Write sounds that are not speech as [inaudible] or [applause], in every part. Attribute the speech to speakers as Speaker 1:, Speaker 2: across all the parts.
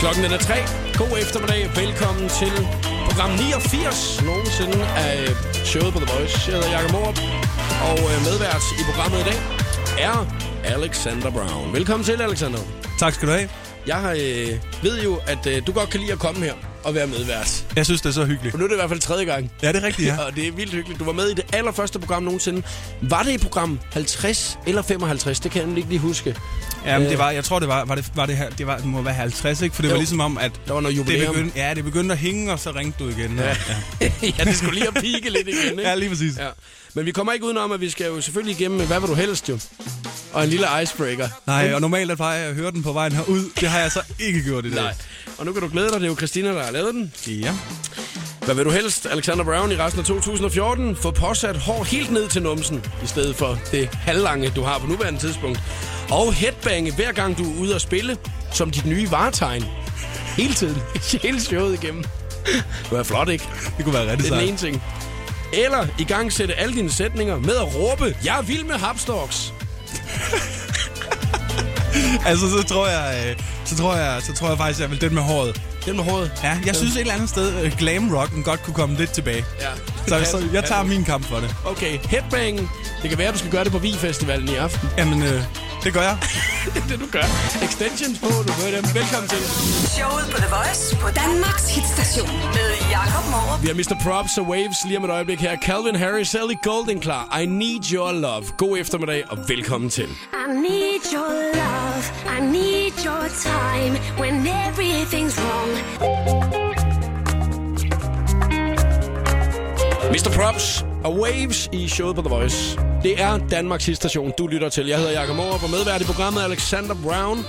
Speaker 1: Klokken den er tre. God eftermiddag. Velkommen til program 89 nogensinde af showet på The Voice. Jeg hedder Jakob Morup, og øh, medvært i programmet i dag er Alexander Brown. Velkommen til, Alexander.
Speaker 2: Tak skal du have.
Speaker 1: Jeg har, øh, ved jo, at øh, du godt kan lide at komme her og være medvært.
Speaker 2: Jeg synes, det er så hyggeligt.
Speaker 1: For nu er det i hvert fald tredje gang.
Speaker 2: Ja, det er rigtigt, ja.
Speaker 1: Og det er vildt hyggeligt. Du var med i det allerførste program nogensinde. Var det i program 50 eller 55? Det kan jeg ikke lige huske.
Speaker 2: ja men det var, jeg tror, det var, var det, var det, her, det var, det må være 50, ikke? For det
Speaker 1: Jo.
Speaker 2: var ligesom om, at
Speaker 1: Der var noget
Speaker 2: det
Speaker 1: jubilæum.
Speaker 2: begyndte, ja, det begyndte at hænge, og så ringte du igen. Ja,
Speaker 1: [laughs] ja, det skulle lige at pike lidt igen, ikke?
Speaker 2: [laughs] ja lige præcis. Ja.
Speaker 1: Ja. Men vi kommer ikke udenom, at vi skal jo selvfølgelig igennem med, hvad vil du helst jo? Og en lille icebreaker.
Speaker 2: Nej, og normalt der plejer jeg at høre den på vejen herud. Det har jeg så ikke gjort i dag.
Speaker 1: Nej. Og nu kan du glæde dig, det er jo Christina, der har lavet den.
Speaker 2: Ja.
Speaker 1: Hvad vil du helst, Alexander Brown, i resten af 2014? Få påsat hår helt ned til numsen, i stedet for det halvlange, du har på nuværende tidspunkt. Og headbange, hver gang du er ude at spille, som dit nye varetegn. Hele tiden. [laughs] Hele showet igennem. Det var flot, ikke?
Speaker 2: Det kunne være rigtig
Speaker 1: Det er den
Speaker 2: sejt.
Speaker 1: ene ting. Eller i gang sætte alle dine sætninger med at råbe, jeg er vild med hapstorks.
Speaker 2: Altså, så tror jeg, øh, så tror jeg, så tror jeg faktisk, at jeg vil den med håret.
Speaker 1: Den med håret.
Speaker 2: Ja, jeg synes et eller andet sted, øh, glam rocken godt kunne komme lidt tilbage.
Speaker 1: Ja.
Speaker 2: Så, så jeg tager min kamp for det.
Speaker 1: Okay, headbang. Det kan være, at du skal gøre det på Vi-festivalen i aften.
Speaker 2: Jamen, øh, det gør jeg.
Speaker 1: det er det, du gør. Extensions på, du hører dem. Velkommen til.
Speaker 3: Showet på The Voice på Danmarks hitstation med Jakob Morup.
Speaker 1: Vi har Mr. Props og Waves lige om et øjeblik her. Calvin Harris, Ellie Golden klar. I need your love. God eftermiddag og velkommen til.
Speaker 4: I need your love. I need your time when everything's wrong.
Speaker 1: Mr. Props og Waves i showet på The Voice. Det er Danmarks station, du lytter til. Jeg hedder Jakob Morup og medvært i programmet Alexander Brown.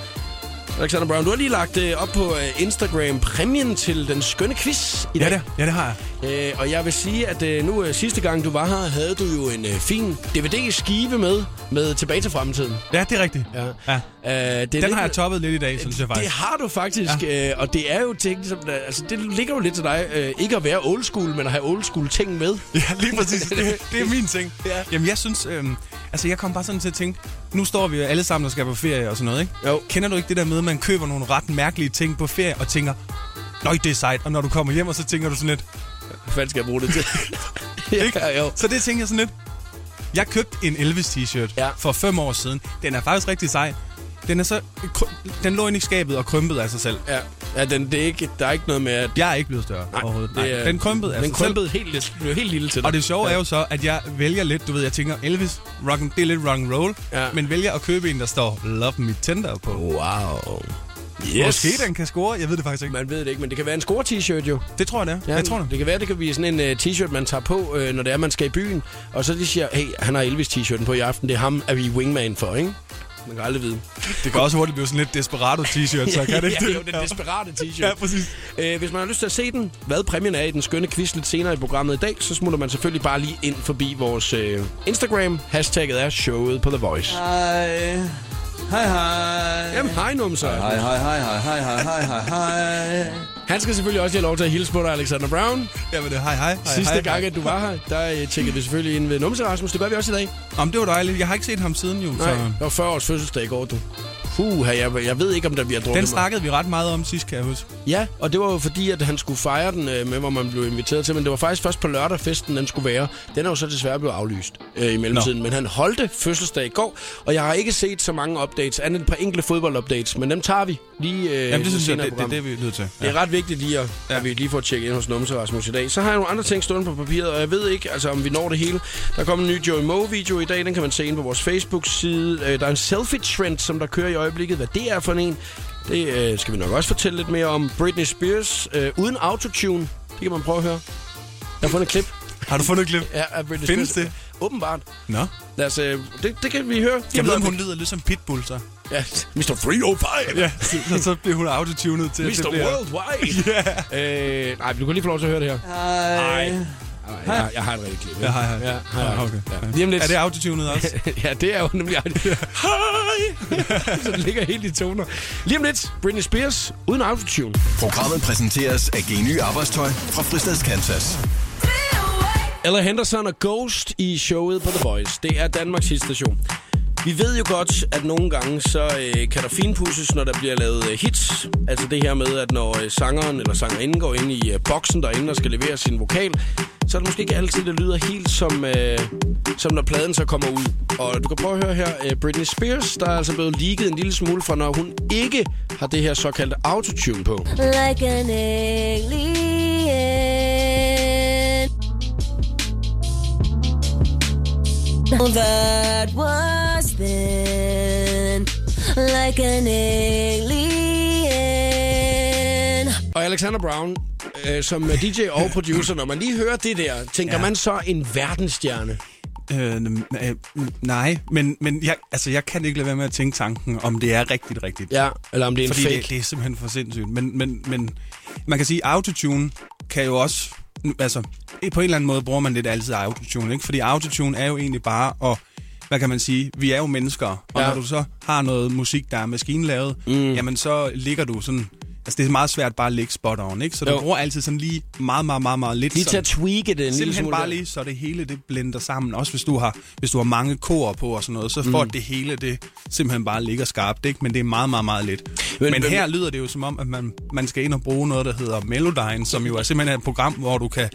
Speaker 1: Alexander Brown, du har lige lagt øh, op på øh, Instagram præmien til den skønne quiz i dag.
Speaker 2: Ja, det, ja, det har jeg.
Speaker 1: Øh, og jeg vil sige, at øh, nu øh, sidste gang du var her, havde du jo en øh, fin DVD-skive med, med Tilbage til fremtiden.
Speaker 2: Ja, det er rigtigt. ja.
Speaker 1: Øh, det er
Speaker 2: Den har jeg toppet lidt i dag, synes jeg
Speaker 1: Det
Speaker 2: faktisk.
Speaker 1: har du faktisk, ja. øh, og det er jo ting, som der, altså, det ligger jo lidt til dig, øh, ikke at være old school, men at have old school ting med.
Speaker 2: Ja, lige præcis. Det, det er min ting.
Speaker 1: Ja.
Speaker 2: Jamen, jeg synes... Øhm, altså, jeg kom bare sådan til at tænke... Nu står vi jo alle sammen og skal på ferie og sådan noget, ikke?
Speaker 1: Jo.
Speaker 2: Kender du ikke det der med, at man køber nogle ret mærkelige ting på ferie og tænker... Nøj, det er sejt. Og når du kommer hjem, og så tænker du sådan lidt...
Speaker 1: Hvad fanden skal jeg bruge det
Speaker 2: [laughs]
Speaker 1: til? ja, jo.
Speaker 2: Så det tænker jeg sådan lidt... Jeg købte en Elvis-t-shirt
Speaker 1: Ja.
Speaker 2: for fem år siden. Den er faktisk rigtig sej. Den, er så, kry- den lå inde i skabet og krympede af sig selv.
Speaker 1: Ja, ja den, det er ikke, der er ikke noget med, at...
Speaker 2: Jeg er ikke blevet større overhovedet. Nej.
Speaker 1: er-
Speaker 2: den krympede af
Speaker 1: Den
Speaker 2: sig selv.
Speaker 1: krympede helt, lidt- blev helt lille til dig.
Speaker 2: Og det sjove er jo så, at jeg vælger lidt, du ved, jeg tænker, Elvis, rock and, det er lidt rock and roll,
Speaker 1: Ja.
Speaker 2: ja. men vælger at købe en, der står Love Me Tender på. Yes.
Speaker 1: Wow. Yes.
Speaker 2: Måske den kan score, jeg ved det faktisk ikke.
Speaker 1: Man ved det ikke, men det kan være en score-t-shirt jo.
Speaker 2: Det tror jeg, det er. Ja, jeg tror det.
Speaker 1: Det kan være, det kan blive sådan en uh, t-shirt, man tager på, uh, når det er, man skal i byen. Og så de siger, hey, han har Elvis-t-shirten på i aften. Det er ham, er vi wingman for, ikke? Man kan aldrig vide.
Speaker 2: Det kan også hurtigt blive sådan lidt desperado t-shirt, så [laughs] kan det
Speaker 1: [laughs] ja,
Speaker 2: ikke
Speaker 1: det er jo den desperate t-shirt.
Speaker 2: Ja, præcis.
Speaker 1: Øh, hvis man har lyst til at se den, hvad præmien er i den skønne quiz lidt senere i programmet i dag, så smutter man selvfølgelig bare lige ind forbi vores øh, Instagram. Hashtagget er showet på The Voice.
Speaker 5: Hej. Hej, hej.
Speaker 1: Jamen, hej numser.
Speaker 5: Hej, hej, hej, hej, hej, hej, hej, hej, hej.
Speaker 1: Han skal selvfølgelig også have lov til at hilse på dig, Alexander Brown. Hej,
Speaker 2: Jamen, det, øh, hej, hej, hej.
Speaker 1: Sidste
Speaker 2: hej,
Speaker 1: hej, gang, at du var her, der øh, tjekkede vi selvfølgelig ind ved numse, Rasmus. Det gør vi også i dag.
Speaker 2: Hej. Jamen, det var dejligt. Jeg har ikke set ham siden, jo.
Speaker 1: Nej,
Speaker 2: Så.
Speaker 1: det var 40 års fødselsdag i går, du. Puh, jeg, jeg ved ikke, om der bliver drukket
Speaker 2: Den
Speaker 1: mig.
Speaker 2: snakkede vi ret meget om sidst, kan jeg huske.
Speaker 1: Ja, og det var jo fordi, at han skulle fejre den øh, med, hvor man blev inviteret til. Men det var faktisk først på lørdag, festen den skulle være. Den er jo så desværre blevet aflyst øh, i mellemtiden. Men han holdte fødselsdag i går, og jeg har ikke set så mange updates. Andet end et par enkelte fodboldupdates, men dem tager vi lige øh,
Speaker 2: Jamen, det synes jeg,
Speaker 1: senere i
Speaker 2: det, det, er
Speaker 1: programmet.
Speaker 2: det, vi er nødt til.
Speaker 1: Det er ret vigtigt lige, at, ja. at vi lige får tjekket ind hos Numse Rasmus i dag. Så har jeg nogle andre ting stående på papiret, og jeg ved ikke, altså, om vi når det hele. Der kommer en ny Joey Moe-video i dag, den kan man se inde på vores Facebook-side. Øh, Der er en selfie-trend, som der kører i øjeblikket. Hvad det er for en, det øh, skal vi nok også fortælle lidt mere om. Britney Spears øh, uden autotune, det kan man prøve at høre. Jeg har fundet et klip
Speaker 2: Har du fundet et klip?
Speaker 1: ja, af Britney
Speaker 2: Findes
Speaker 1: Spears.
Speaker 2: det?
Speaker 1: Åbenbart.
Speaker 2: Nå.
Speaker 1: Lad os, øh, det, det kan vi høre.
Speaker 2: Jeg ved, om hun lyder lidt som Pitbull, så.
Speaker 1: Ja, Mr. 305!
Speaker 2: Ja, [laughs] så, så bliver hun autotunet til, at det
Speaker 1: Mr.
Speaker 2: bliver...
Speaker 1: Worldwide!
Speaker 2: [laughs]
Speaker 1: yeah. øh, nej, men du kan lige få lov til at høre det her.
Speaker 5: Hej.
Speaker 1: Nej, jeg, jeg har et rigtigt klip. ikke?
Speaker 2: Ja, hej, hej.
Speaker 1: Ja, hej, hej.
Speaker 2: Ah, okay.
Speaker 1: Ja. Lige om lidt.
Speaker 2: Er det autotunet [laughs] også?
Speaker 1: [laughs] ja, det er jo
Speaker 2: [laughs]
Speaker 1: nemlig... Hej! [laughs] Så det ligger helt i toner. Lige om lidt, Britney Spears uden autotune.
Speaker 6: Programmet præsenteres af Geny Arbejdstøj fra Fristads Kansas.
Speaker 1: Ella Henderson og Ghost i showet på The Voice. Det er Danmarks hitstation. Vi ved jo godt, at nogle gange så øh, kan der finpudses, når der bliver lavet øh, hits. Altså det her med, at når øh, sangeren eller sangerinden går ind i øh, boksen derinde og skal levere sin vokal, så er det måske ikke altid, det lyder helt som, øh, som når pladen så kommer ud. Og du kan prøve at høre her, øh, Britney Spears, der er altså blevet leaget en lille smule fra, når hun ikke har det her såkaldte autotune på.
Speaker 4: like an alien. That was then like an alien.
Speaker 1: Og Alexander Brown, øh, som er DJ og producer, når man lige hører det der, tænker ja. man så en verdensstjerne?
Speaker 2: Øh, n- øh, nej, men, men jeg, altså, jeg kan ikke lade være med at tænke tanken, om det er rigtigt rigtigt.
Speaker 1: Ja, eller om det er en
Speaker 2: Fordi
Speaker 1: fake.
Speaker 2: det, det er simpelthen for sindssygt. Men, men, men man kan sige, autotune kan jo også... Altså, på en eller anden måde bruger man lidt altid autotune, ikke? Fordi autotune er jo egentlig bare at... Hvad kan man sige? Vi er jo mennesker, og
Speaker 1: Ja.
Speaker 2: ja. når du så har noget musik, der er maskinlavet, mm. jamen så ligger du sådan... Altså, det er meget svært bare at ligge spot on, ikke? Så
Speaker 1: Jo.
Speaker 2: du bruger altid sådan lige meget, meget, meget, meget lidt...
Speaker 1: Lige til
Speaker 2: sådan-
Speaker 1: at tweake det en lille
Speaker 2: Simpelthen
Speaker 1: smule.
Speaker 2: bare
Speaker 1: der.
Speaker 2: lige, så det hele det blender sammen. Også hvis du har, hvis du har mange kor på og sådan noget, så får det hele det simpelthen bare ligger skarpt, ikke? Men det er meget, meget, meget lidt.
Speaker 1: Men-
Speaker 2: Men, men
Speaker 1: men-
Speaker 2: her lyder det jo som om, at man, man skal ind og bruge noget, der hedder Melodyne, som jo er simpelthen et program, hvor du kan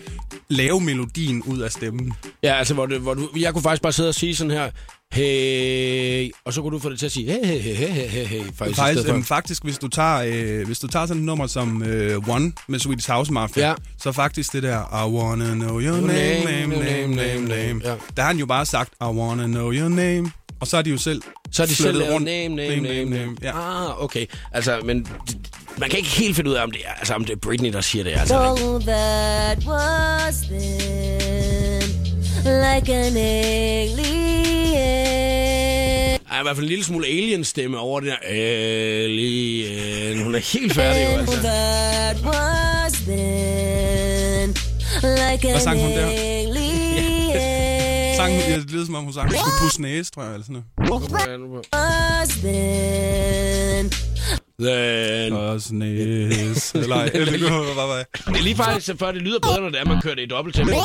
Speaker 2: lave melodien ud af stemmen.
Speaker 1: Ja, altså, hvor, det, hvor du, jeg kunne faktisk bare sidde og sige sådan her, hey, og så kunne du få det til at sige, hey, hey, hey, hey, hey, hey, faktisk, faktisk i
Speaker 2: Faktisk,
Speaker 1: stedet
Speaker 2: øhm,
Speaker 1: for.
Speaker 2: faktisk hvis, du tager, øh, hvis du tager sådan et nummer som øh, One med Swedish House Mafia,
Speaker 1: Ja.
Speaker 2: ja. så faktisk det der I wanna know your
Speaker 1: Your
Speaker 2: name,
Speaker 1: name,
Speaker 2: name,
Speaker 1: your
Speaker 2: name, name, name.
Speaker 1: Ja.
Speaker 2: Ja. Der har han jo bare sagt I wanna know your name. Og så er de jo selv
Speaker 1: Så er de selv
Speaker 2: flyttet
Speaker 1: lavet name, name, name, name, name.
Speaker 2: Ja.
Speaker 1: Ah, okay. Altså, men d- man kan ikke helt finde ud af, om det er, altså, om det er Britney, der siger det. Altså,
Speaker 4: All that was then like an alien.
Speaker 1: der er i hvert fald en lille smule alien-stemme over det der. Alien. Hun er helt færdig, jo, altså.
Speaker 4: That was then like an
Speaker 2: sang hun der?
Speaker 4: alien.
Speaker 2: Sang, ja, det lyder som om, hun sang, hun skulle pusse næse, tror jeg. Eller sådan
Speaker 4: was then
Speaker 1: Then.
Speaker 2: noget. Pusse næse. Eller, ej, det kunne bare være.
Speaker 1: Det er lige faktisk, før det lyder bedre, når det er, man kører det i dobbelt tempo.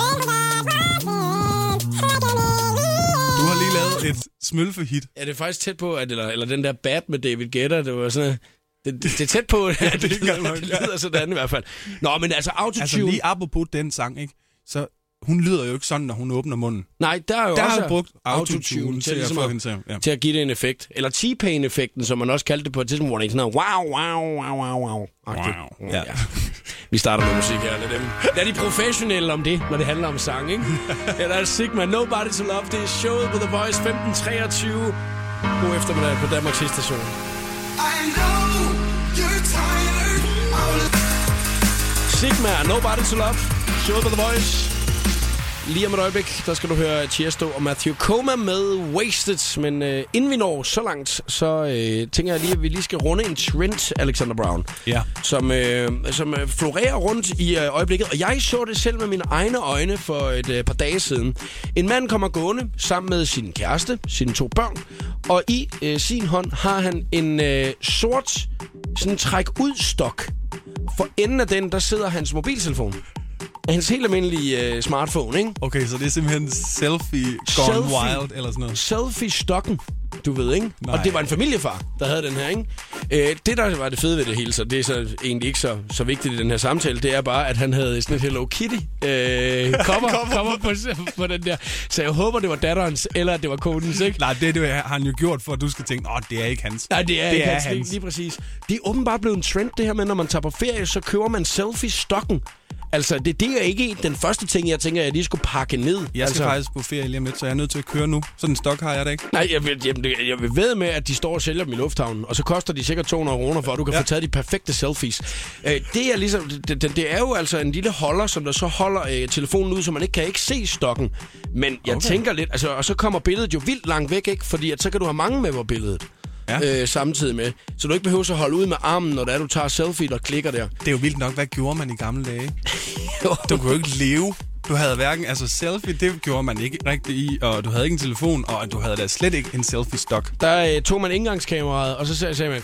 Speaker 2: Du har lige lavet et smølfe-hit.
Speaker 1: Ja, det er faktisk tæt på, at, eller, eller den der bat med David Guetta, det var sådan... Det, det, det er tæt [laughs] på, at det,
Speaker 2: ikke
Speaker 1: lyder,
Speaker 2: engang nok,
Speaker 1: det
Speaker 2: ja.
Speaker 1: lyder sådan i hvert fald. Nå, men altså autotune...
Speaker 2: Altså lige apropos den sang, ikke? Så hun lyder jo ikke sådan, når hun åbner munden.
Speaker 1: nej, der er jo
Speaker 2: Der
Speaker 1: også
Speaker 2: har hun brugt autotune til, at
Speaker 1: ligesom
Speaker 2: få hende til. Ja.
Speaker 1: til at give det en effekt. Eller T-Pain-effekten, som man også kaldte det på et tidspunkt, hvor det er sådan noget wow, wow, wow, wow, wow.
Speaker 2: Wow.
Speaker 1: Ja.
Speaker 2: Ja.
Speaker 1: [laughs] Vi starter med musik her. Lad, dem. lad de professionelle om det, når det handler om sang,
Speaker 2: [laughs]
Speaker 1: ikke? Her der er Sigma, Nobody to Love. Det er showet på The Voice 1523. God eftermiddag på Danmarks station. Sigma, Nobody to Love. Showet på The Voice. Lige om et øjeblik, der skal du høre Tiesto og Matthew Coma med Wasted. Men øh, inden vi når så langt, så øh, tænker jeg lige, at vi lige skal runde en trend, Alexander Brown.
Speaker 2: Ja.
Speaker 1: Som, øh, som øh, florerer rundt i øh, øjeblikket. Og jeg så det selv med mine egne øjne for et øh, par dage siden. En mand kommer gående sammen med sin kæreste, sine to børn. Og i øh, sin hånd har han en øh, sort sådan træk-ud-stok. For enden af den, der sidder hans mobiltelefon. Hans helt almindelige øh, smartphone, ikke?
Speaker 2: Okay, så det er simpelthen selfie gone
Speaker 1: Selfie.
Speaker 2: wild, eller sådan noget.
Speaker 1: selfie-stokken, du ved, ikke? Nej.
Speaker 2: Nej.
Speaker 1: Og det var en familiefar, der havde den her, ikke? Øh, det, der var det fede ved det hele, så det er så egentlig ikke så, så vigtigt i den her samtale, det er bare, at han havde sådan et Hello Kitty [laughs] øh, cover, cover på, på den der. Så jeg håber, det var datterens, eller at det var konens, ikke?
Speaker 2: Nej, det, det har han jo gjort, for at du skal tænke, åh, det er ikke hans.
Speaker 1: Nej, det er,
Speaker 2: det
Speaker 1: ikke
Speaker 2: er
Speaker 1: hans.
Speaker 2: hans.
Speaker 1: Lige, lige præcis. Det er åbenbart blevet en trend, det her med, når man tager på ferie, så køber man selfie-stokken. Altså, det, det er ikke den første ting, jeg tænker, jeg lige skulle pakke ned.
Speaker 2: Jeg skal
Speaker 1: altså,
Speaker 2: altså... faktisk på ferie lige om lidt, så jeg er nødt til at køre nu. Sådan en stok har jeg da ikke.
Speaker 1: Nej, jeg vil, jamen, det- jeg vil ved med, at de står og sælger dem i lufthavnen, og så koster de sikkert 200 kroner for, at du kan ja.
Speaker 2: Ja.
Speaker 1: få taget de perfekte selfies. Øh, det, er ligesom, det, det, det er jo altså en lille holder, som der så holder øh, telefonen ud, så man ikke kan ikke se stokken. Men jeg okay.
Speaker 2: Okay.
Speaker 1: tænker lidt, altså, og så kommer billedet jo vildt langt væk, ikke? fordi at så kan du have mange med på billedet. Ja.
Speaker 2: Ja.
Speaker 1: Øh, samtidig med. Så du ikke behøver at holde ud med armen, når det er, du tager selfie og klikker der.
Speaker 2: Det er jo vildt nok, hvad gjorde man i gamle
Speaker 1: [laughs]
Speaker 2: dage? Du kunne jo ikke leve. Du havde hverken, altså selfie, det gjorde man ikke rigtig i, og du havde ikke en telefon, og du havde da slet ikke en selfie-stok.
Speaker 1: Der øh, tog man indgangskameraet, og så sagde, sagde man...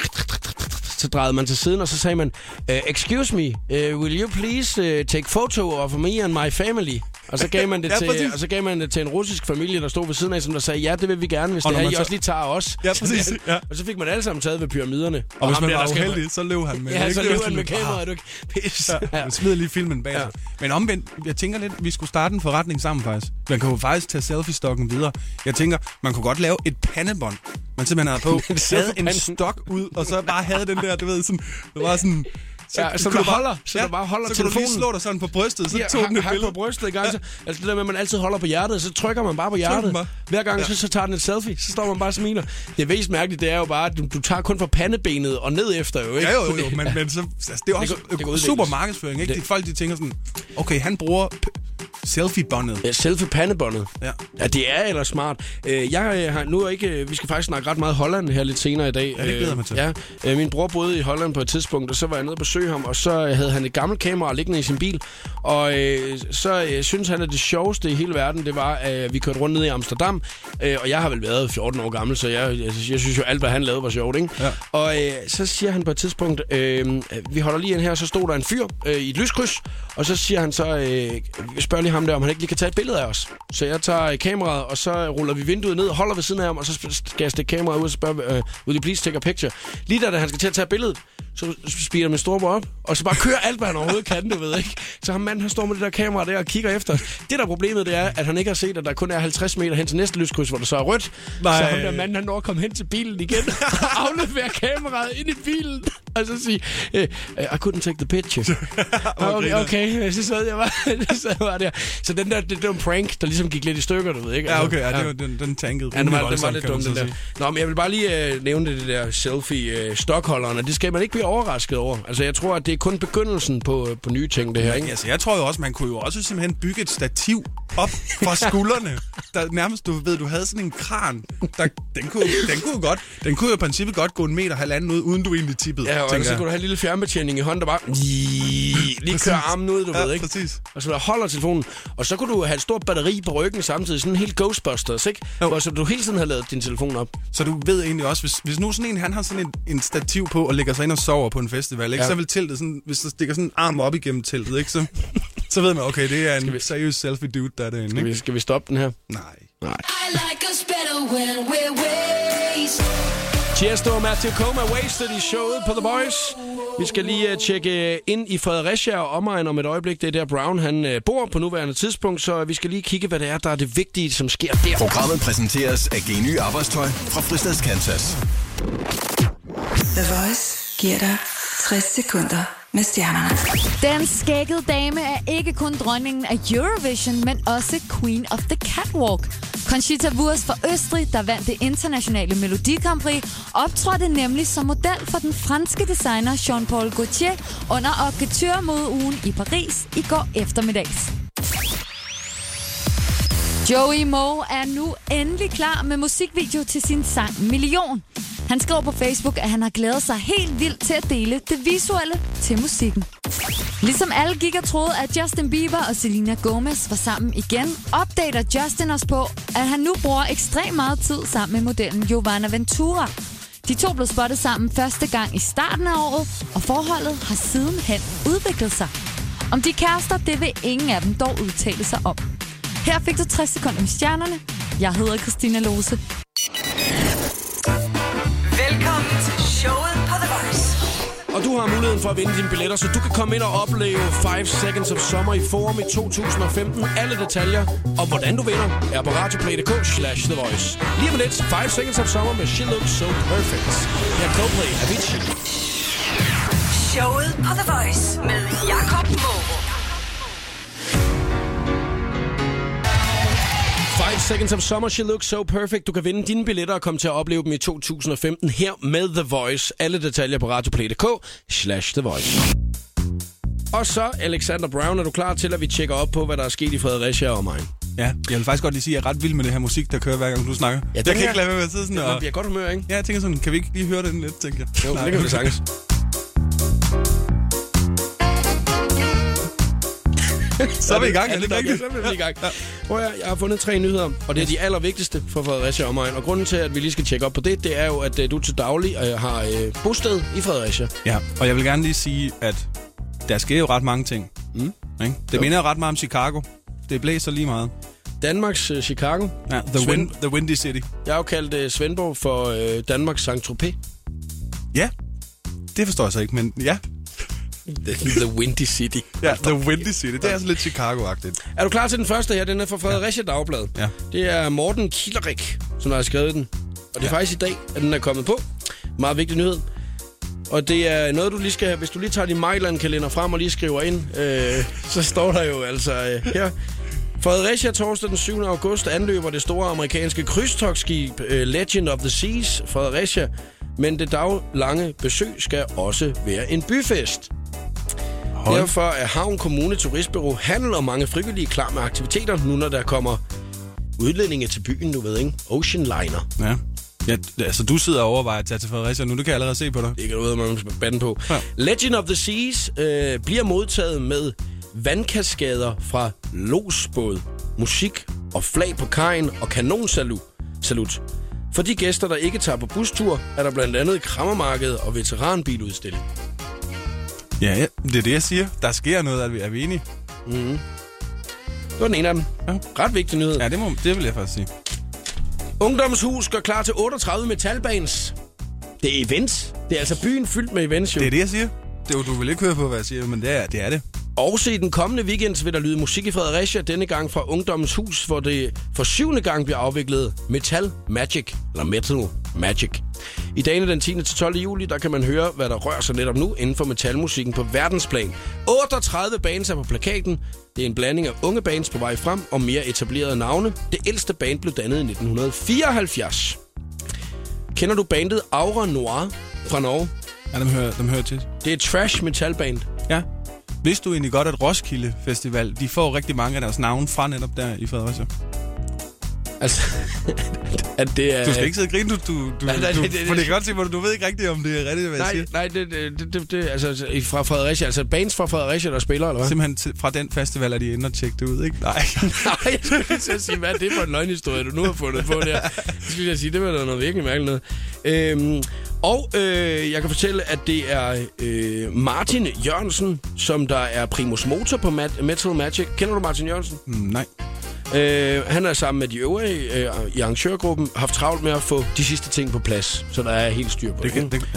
Speaker 1: Så drejede man til siden, og så sagde man, "Øh, excuse me, øh, will you please øh, take photo of me and my family? Og så gav man det,
Speaker 2: [laughs] Ja,
Speaker 1: til,
Speaker 2: præcis.
Speaker 1: og så gav man det til en russisk familie, der stod ved siden af, som der sagde, ja, det vil vi gerne, hvis
Speaker 2: Og
Speaker 1: og det
Speaker 2: når
Speaker 1: er,
Speaker 2: man
Speaker 1: I
Speaker 2: så-
Speaker 1: også lige tager os.
Speaker 2: Ja, [laughs] præcis, ja.
Speaker 1: Og så fik man alle sammen taget ved pyramiderne.
Speaker 2: Og hvis
Speaker 1: ham
Speaker 2: man
Speaker 1: der,
Speaker 2: var
Speaker 1: der skal-
Speaker 2: uheldig, så løb han med.
Speaker 1: Ja,
Speaker 2: ikke?
Speaker 1: så
Speaker 2: Det var
Speaker 1: løber han
Speaker 2: sådan,
Speaker 1: med
Speaker 2: "Ah."
Speaker 1: kameraet, du kan pisse.
Speaker 2: Ja, man smider lige filmen bag ja. Men omvendt, jeg tænker lidt, vi skulle starte en forretning sammen faktisk. Man kan jo faktisk tage selfie-stokken videre. Jeg tænker, man kunne godt lave et pandebånd, man simpelthen havde
Speaker 1: [laughs]
Speaker 2: på. havde en
Speaker 1: selfie-panden.
Speaker 2: stok ud, og så bare havde den der, du ved, sådan, det var sådan...
Speaker 1: Ja, så
Speaker 2: kunne
Speaker 1: du
Speaker 2: bare-
Speaker 1: holder, så du bare holder
Speaker 2: så kunne du lige
Speaker 1: telefonen.
Speaker 2: slå dig sådan på brystet, så
Speaker 1: Ja,
Speaker 2: tog den et
Speaker 1: hak på
Speaker 2: billede.
Speaker 1: brystet i gang. Så, altså det der med, at man altid holder på hjertet, så trykker man bare på
Speaker 2: den
Speaker 1: hjertet.
Speaker 2: bare.
Speaker 1: Hver gang, så, så tager den et selfie, så står man bare og smiler. Det mest mærkelige, det er jo bare, at du, du tager kun fra pandebenet og ned efter jo, ikke?
Speaker 2: Ja, jo, jo, men, men så, altså, det er også
Speaker 1: kan- det
Speaker 2: det
Speaker 1: kan
Speaker 2: går,
Speaker 1: udvikles.
Speaker 2: super markedsføring, ikke?
Speaker 1: Det-
Speaker 2: Det. Folk, de tænker sådan, okay, han bruger p- selfie-båndet.
Speaker 1: Ja, selfie Øh, pandebåndet.
Speaker 2: Ja.
Speaker 1: ja. det er ellers smart. Øh, Jeg øh, har nu er ikke... øh, Vi skal faktisk snakke ret meget Holland her lidt senere i dag.
Speaker 2: det glæder jeg mig til.
Speaker 1: Ja, Øh, min bror boede i Holland på et tidspunkt, og så var jeg nede og besøge ham, og så øh, havde han et gammelt kamera liggende i sin bil. Og øh, så øh, synes han, at det sjoveste i hele verden, det var, at øh, vi kørte rundt ned i Amsterdam. Øh, og jeg har vel været 14 år gammel, så jeg, jeg, jeg synes jo, alt hvad han lavede var sjovt, ikke?
Speaker 2: Ja.
Speaker 1: Og øh, så siger han på et tidspunkt, øh, vi holder lige ind her, så stod der en fyr øh, i et lyskryds, og så siger han så, øh, spørg lige ham der, om han ikke lige kan tage et billede af os. Så jeg tager øh, kameraet, og så ruller vi vinduet ned, holder ved siden af ham, og så sp- skal jeg stikke kameraet ud og spørge, øh, will you please take a picture? Lige da da han skal til at tage billedet, så speeder min storebror op, og så bare kører alt, hvad han overhovedet kan, du ved ikke. Så ham manden, han står med det der kamera der og kigger efter os. Det der problemet, det er, at han ikke har set, at der kun er 50 meter hen til næste lyskryds, hvor der så er rødt.
Speaker 2: Nej.
Speaker 1: Så ham der manden, han når at komme hen til bilen
Speaker 2: [laughs]
Speaker 1: igen, og aflevere kameraet ind i bilen, og så sige, øh, øh, I couldn't take the
Speaker 2: [laughs]
Speaker 1: picture. okay, okay, [laughs] så sad jeg bare, så sad jeg bare der. Så den der, det, det var en prank, der ligesom gik lidt i stykker, du ved ikke? Altså,
Speaker 2: Ja, okay, ja, det var, den, den tankede.
Speaker 1: Ja, den var, den var
Speaker 2: voldsomt,
Speaker 1: lidt
Speaker 2: kan
Speaker 1: dum,
Speaker 2: man så
Speaker 1: den der.
Speaker 2: sige.
Speaker 1: Nå, men jeg vil bare lige øh, nævne det der selfie øh, stokholderne. Det skal man ikke blive overrasket over. Altså, jeg tror, at det er kun begyndelsen på, øh, på nye ting, det her, ikke?
Speaker 2: Altså, jeg tror jo også, man kunne jo også simpelthen bygge et stativ op
Speaker 1: [laughs]
Speaker 2: fra skuldrene. Der nærmest, du ved, du havde sådan en kran. Der, den, kunne, den, kunne jo godt, den kunne jo i princippet godt gå en meter halvanden ud, uden du egentlig tippede.
Speaker 1: Ja, og
Speaker 2: tænker
Speaker 1: så
Speaker 2: jeg.
Speaker 1: kunne du have en lille fjernbetjening i hånden, der bare... Lige kører armen ud, du
Speaker 2: ja,
Speaker 1: ved, ikke?
Speaker 2: præcis.
Speaker 1: Og så der holder telefonen. Og så kunne du have et stort batteri på ryggen samtidig. Sådan en helt Ghostbusters, ikke?
Speaker 2: Jo.
Speaker 1: Hvor så du hele tiden har lavet din telefon op.
Speaker 2: Så du ved egentlig også, hvis, hvis nu sådan en, han har sådan en, en stativ på og lægger sig ind og sover på en festival, ikke?
Speaker 1: Ja.
Speaker 2: Ja. så vil teltet sådan, hvis der stikker sådan en arm op igennem teltet, ikke? Så, så ved man, okay, det er en vi... seriøs selfie dude, der er derinde,
Speaker 1: Skal
Speaker 2: ikke?
Speaker 1: vi, skal vi stoppe den her?
Speaker 2: Nej.
Speaker 4: I like us better when we're wasted.
Speaker 1: Tiesto og Matthew Coma wasted i showet på The Boys. Vi skal lige uh, tjekke øh, ind i Fredericia og omegn om et øjeblik. Det er der Brown han uh, bor på nuværende tidspunkt, så vi skal lige kigge, hvad det er, der er det vigtige, som sker der.
Speaker 6: Programmet præsenteres af Geny Arbejdstøj fra Fristads Kansas.
Speaker 3: The Voice giver dig 60 sekunder med stjernerne.
Speaker 7: Den skækkede dame er ikke kun dronningen af Eurovision, men også Queen of the Catwalk. Conchita Wurst fra Østrig, der vandt det internationale Melodi Grand Prix, optrådte nemlig som model for den franske designer Jean-Paul Gaultier under Haute Couture modeugen i Paris i går eftermiddags. Joey Moe er nu endelig klar med musikvideo til sin sang Million. Han skrev på Facebook, at han har glædet sig helt vildt til at dele det visuelle til musikken. Ligesom alle gik og troede, at Justin Bieber og Selena Gomez var sammen igen, opdater Justin os på, at han nu bruger ekstremt meget tid sammen med modellen Giovanna Ventura. De to blev spottet sammen første gang i starten af året, og forholdet har sidenhen udviklet sig. Om de er kærester, det vil ingen af dem dog udtale sig om. Her fik du 60 sekunder med stjernerne. Jeg hedder Christina Lose.
Speaker 3: Velkommen til showet på The Voice.
Speaker 1: Og du har muligheden for at vinde dine billetter, så du kan komme ind og opleve 5 Seconds of Summer i Forum i 2015. Alle detaljer om, hvordan du vinder, er på radioplay.dk slash The Voice. Lige om lidt, 5 Seconds of Summer med She Looks So Perfect. Her er Coldplay, Avicii.
Speaker 3: Showet på The Voice med Jakob Morup.
Speaker 1: 5 Seconds of Summer, She Looks So Perfect. Du kan vinde dine billetter og komme til at opleve dem i 2015 her med The Voice. Alle detaljer på radioplay.dk slash The Voice. Og så, Alexander Brown, er du klar til, at vi tjekker op på, hvad der er sket i Fredericia og omegn?
Speaker 2: Ja, jeg vil faktisk godt lige sige, at jeg er ret vild med det her musik, der kører hver gang du snakker.
Speaker 1: den
Speaker 2: jeg kan
Speaker 1: her-
Speaker 2: ikke lade være med at sidde sådan
Speaker 1: Man
Speaker 2: og...
Speaker 1: bliver i godt humør, ikke?
Speaker 2: Ja, jeg tænker sådan, kan vi ikke lige høre den lidt, tænker jeg.
Speaker 1: Jo, det kan vi [laughs] sagtens.
Speaker 2: Så er vi i gang,
Speaker 1: Ja,
Speaker 2: er det ikke
Speaker 1: nok, ja,
Speaker 2: rigtigt?
Speaker 1: så er vi i gang. Prøv at, høre, jeg har fundet tre nyheder, og det er de allervigtigste for Fredericia og omegn. Og grunden til, at vi lige skal tjekke op på det, det er jo, at øh, du til daglig øh, har øh, bosted i Fredericia.
Speaker 2: Ja, og jeg vil gerne lige sige, at der sker jo ret mange ting. Mm. Ikke? Det jo. minder jo ret meget om Chicago. Det blæser lige meget.
Speaker 1: Danmarks øh, Chicago.
Speaker 2: Ja, the,
Speaker 1: Svend-
Speaker 2: wind, the Windy City.
Speaker 1: Jeg har jo kaldt øh, Svendborg for øh, Danmarks Saint-Tropez.
Speaker 2: Ja, det forstår jeg så ikke, men ja.
Speaker 1: The, the Windy City.
Speaker 2: ja the Windy City, det er altså lidt Chicago-agtigt.
Speaker 1: Er du klar til den første her? Den er fra Fredericia Dagblad.
Speaker 2: Ja.
Speaker 1: Det er Morten Kilderik, som har skrevet den. Og det er ja. faktisk i dag, at den er kommet på. Meget vigtig nyhed. Og det er noget, du lige skal... Hvis du lige tager din Mejland-kalender frem og lige skriver ind, øh, så står der jo altså øh, her... Fredericia torsdag den 7. august anløber det store amerikanske krydstogsskib øh, Legend of the Seas Fredericia, men det daglange besøg skal også være en byfest. Hold. Derfor er Havn Kommune Turistbureau handel og mange frivillige klar med aktiviteter, nu når der kommer udlændinge til byen, du ved ikke? Ocean Liner.
Speaker 2: Ja. ja. Altså, du sidder og overvejer at tage til Fredericia nu, det kan jeg allerede se på dig.
Speaker 1: Det kan du ved, man skal bande på. Ja.
Speaker 2: Ja.
Speaker 1: Legend of the Seas øh, bliver modtaget med vandkaskader fra losbåd, musik og flag på kajen og kanonsalut. Salut. For de gæster, der ikke tager på bustur, er der blandt andet krammermarked og veteranbiludstilling.
Speaker 2: Ja, ja, det er det, jeg siger. Der sker noget, er vi, er vi enige?
Speaker 1: Det var den ene af dem. Ja. Ret vigtig nyhed.
Speaker 2: Ja, det, må, det vil jeg faktisk sige.
Speaker 1: Ungdomshus gør klar til 38 metalbands. Det er events. Det er altså byen fyldt med events, jo.
Speaker 2: Det er det, jeg siger. Det, er jo- du vil ikke høre på, hvad jeg siger, men det er det. Er det.
Speaker 1: Også i den kommende weekend vil der lyde musik i Fredericia, denne gang fra Ungdommens Hus, hvor det for syvende gang bliver afviklet Metal Magic, eller Metal Magic. I dagene den 10. til 12. juli, der kan man høre, hvad der rører sig netop nu inden for metalmusikken på verdensplan. 38 bands er på plakaten. Det er en blanding af unge bands på vej frem og mere etablerede navne. Det ældste band blev dannet i 1974. Kender du bandet Aura Noir fra Norge?
Speaker 2: Ja, dem hører, dem hører til.
Speaker 1: Det er et trash metalband.
Speaker 2: Ja. Vidste du egentlig godt, at Roskilde Festival, de får rigtig mange af deres navne fra netop der i Fredericia?
Speaker 1: Altså, [laughs] at det er...
Speaker 2: Du skal ikke sidde og grine, du, du, du,
Speaker 1: Øh, Nej, nej,
Speaker 2: du
Speaker 1: det- det-
Speaker 2: for det kan godt se, hvor du, du ved ikke rigtigt, om det er rigtigt, hvad jeg
Speaker 1: Nej,
Speaker 2: siger.
Speaker 1: nej, det, det, det- det, det, altså i- fra Fredericia, altså bands fra Fredericia, der spiller, eller hvad?
Speaker 2: Simpelthen til, fra den festival er de inde og tjekke det ud, ikke? Nej.
Speaker 1: [laughs] Nej, jeg skulle lige til at sige, hvad er det for en løgnhistorie, du nu har fundet på der? Det skulle jeg sige, det var da noget virkelig mærkeligt noget. Øhm, og øh, jeg kan fortælle, at det er øh, Martin Jørgensen, som der er primus motor på Mat- Metal Magic. Kender du Martin Jørgensen?
Speaker 2: Mm, nej.
Speaker 1: Øh, han har sammen med de øvrige øh, i arrangørgruppen haft travlt med at få de sidste ting på plads, så der er helt styr på
Speaker 2: Det kan, det,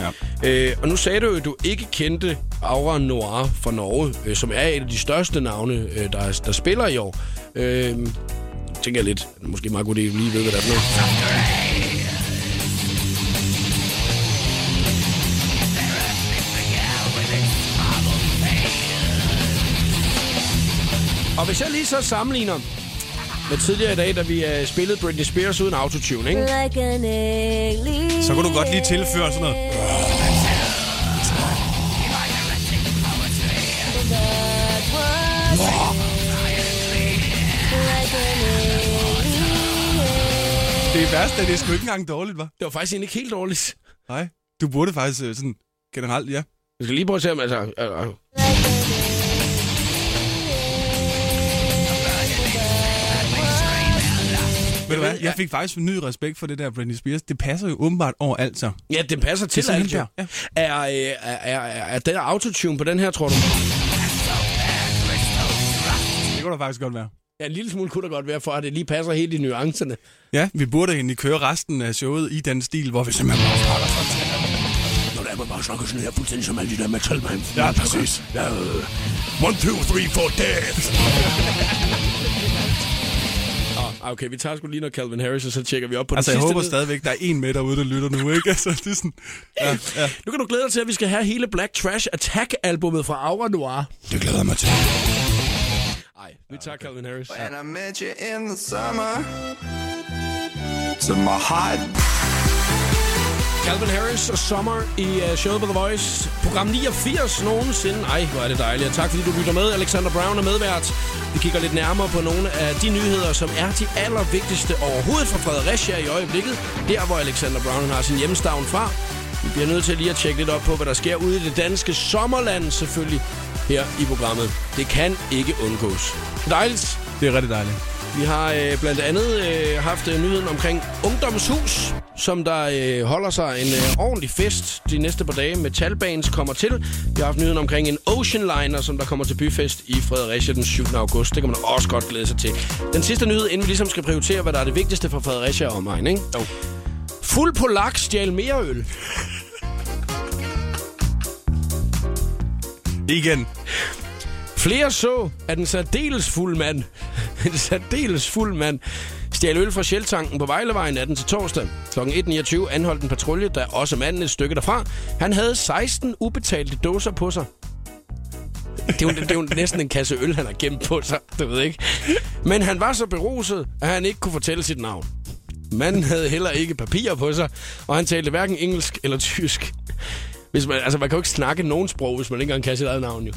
Speaker 2: ja.
Speaker 1: Øh, og nu sagde du jo, at du ikke kendte Aura Noir fra Norge, øh, som er et af de største navne, øh, der, der spiller i år. Øh, tænker jeg lidt, at det måske er meget godt, at I lige ved, hvad der er for noget. Og hvis jeg lige så sammenligner med tidligere i dag, da vi øh, spillede Britney Spears uden autotune, ikke?
Speaker 4: Like an alien.
Speaker 2: Så kunne du godt lige tilføre sådan noget. Det er værst, at det er sgu ikke engang dårligt, var.
Speaker 1: Det var faktisk egentlig ikke helt dårligt.
Speaker 2: Nej. Du burde faktisk øh, sådan generelt, ja.
Speaker 1: Jeg skal lige prøve at se, om altså... Øh, øh,
Speaker 2: Ved du hvad, jeg fik faktisk ny respekt for det der Britney Spears. Det passer jo åbenbart overalt, så.
Speaker 1: Ja, den passer til
Speaker 2: sådan
Speaker 1: alt,
Speaker 2: der.
Speaker 1: jo. Er, øh, er, er, er, er den autotune på den her, tror du?
Speaker 2: Det kunne da faktisk godt være.
Speaker 1: Ja, en lille smule kunne der godt være, for at det lige passer helt i nuancerne.
Speaker 2: Ja, vi burde egentlig køre resten af showet i den stil, hvor vi simpelthen bare snakker sådan.
Speaker 1: Når der er bare snakker sådan her, fuldstændig som alle de der metalbands.
Speaker 2: Ja, præcis.
Speaker 1: Ja, øh, one, two, three, four, dance! Ah, okay, vi tager sgu lige noget Calvin Harris, og så tjekker vi op på
Speaker 2: Altså,
Speaker 1: den
Speaker 2: jeg
Speaker 1: sidste.
Speaker 2: håber
Speaker 1: led.
Speaker 2: stadigvæk, der er en med derude, der lytter nu, ikke? Altså, det er sådan... Ja, ja.
Speaker 1: Nu kan du glæde dig til, at vi skal have hele Black Trash Attack-albummet fra Aura Noir.
Speaker 2: Det glæder jeg mig til.
Speaker 1: Nej, vi tager Calvin Harris.
Speaker 8: And I met you in the summer. To my heart.
Speaker 1: Calvin Harris og Summer i uh, showet på The Voice. Program 89 nogensinde. Ej, hvor er det dejligt. Og tak fordi du lytter med. Alexander Brown er medvært. Vi kigger lidt nærmere på nogle af de nyheder, som er de allervigtigste overhovedet for Fredericia i øjeblikket. Der, hvor Alexander Brown har sin hjemstavn fra. Vi bliver nødt til lige at tjekke lidt op på, hvad der sker ude i det danske sommerland selvfølgelig her i programmet. Det kan ikke undgås. Dejligt.
Speaker 2: Det er rigtig dejligt.
Speaker 1: Vi har øh, blandt andet øh, haft øh, nyheden omkring Ungdomshus, som der øh, holder sig en øh, ordentlig fest de næste par dage. Metalbands kommer til. Vi har haft nyheden omkring en Oceanliner, som der kommer til byfest i Fredericia den 7. august. Det kan man også godt glæde sig til. Den sidste nyhed, inden vi ligesom skal prioritere, hvad der er det vigtigste for Fredericia og omegn, ikke? Jo. Fuld på laks stjal mere øl.
Speaker 2: Igen.
Speaker 1: Flere så, at en særdeles fuld mand, [laughs] en særdeles fuld mand, stjal øl fra Sjeltanken på Vejlevejen 18 til torsdag. Kl. 1.29 anholdt en patrulje, der også manden et stykke derfra. Han havde 16 ubetalte dåser på sig. Det er, jo, det er jo næsten en kasse øl, han har gemt på sig, du ved ikke. Men han var så beruset, at han ikke kunne fortælle sit navn. Manden havde heller ikke papirer på sig, og han talte hverken engelsk eller tysk. Hvis man, altså, man kan jo ikke snakke nogen sprog, hvis man ikke engang kan sit eget navn, jo.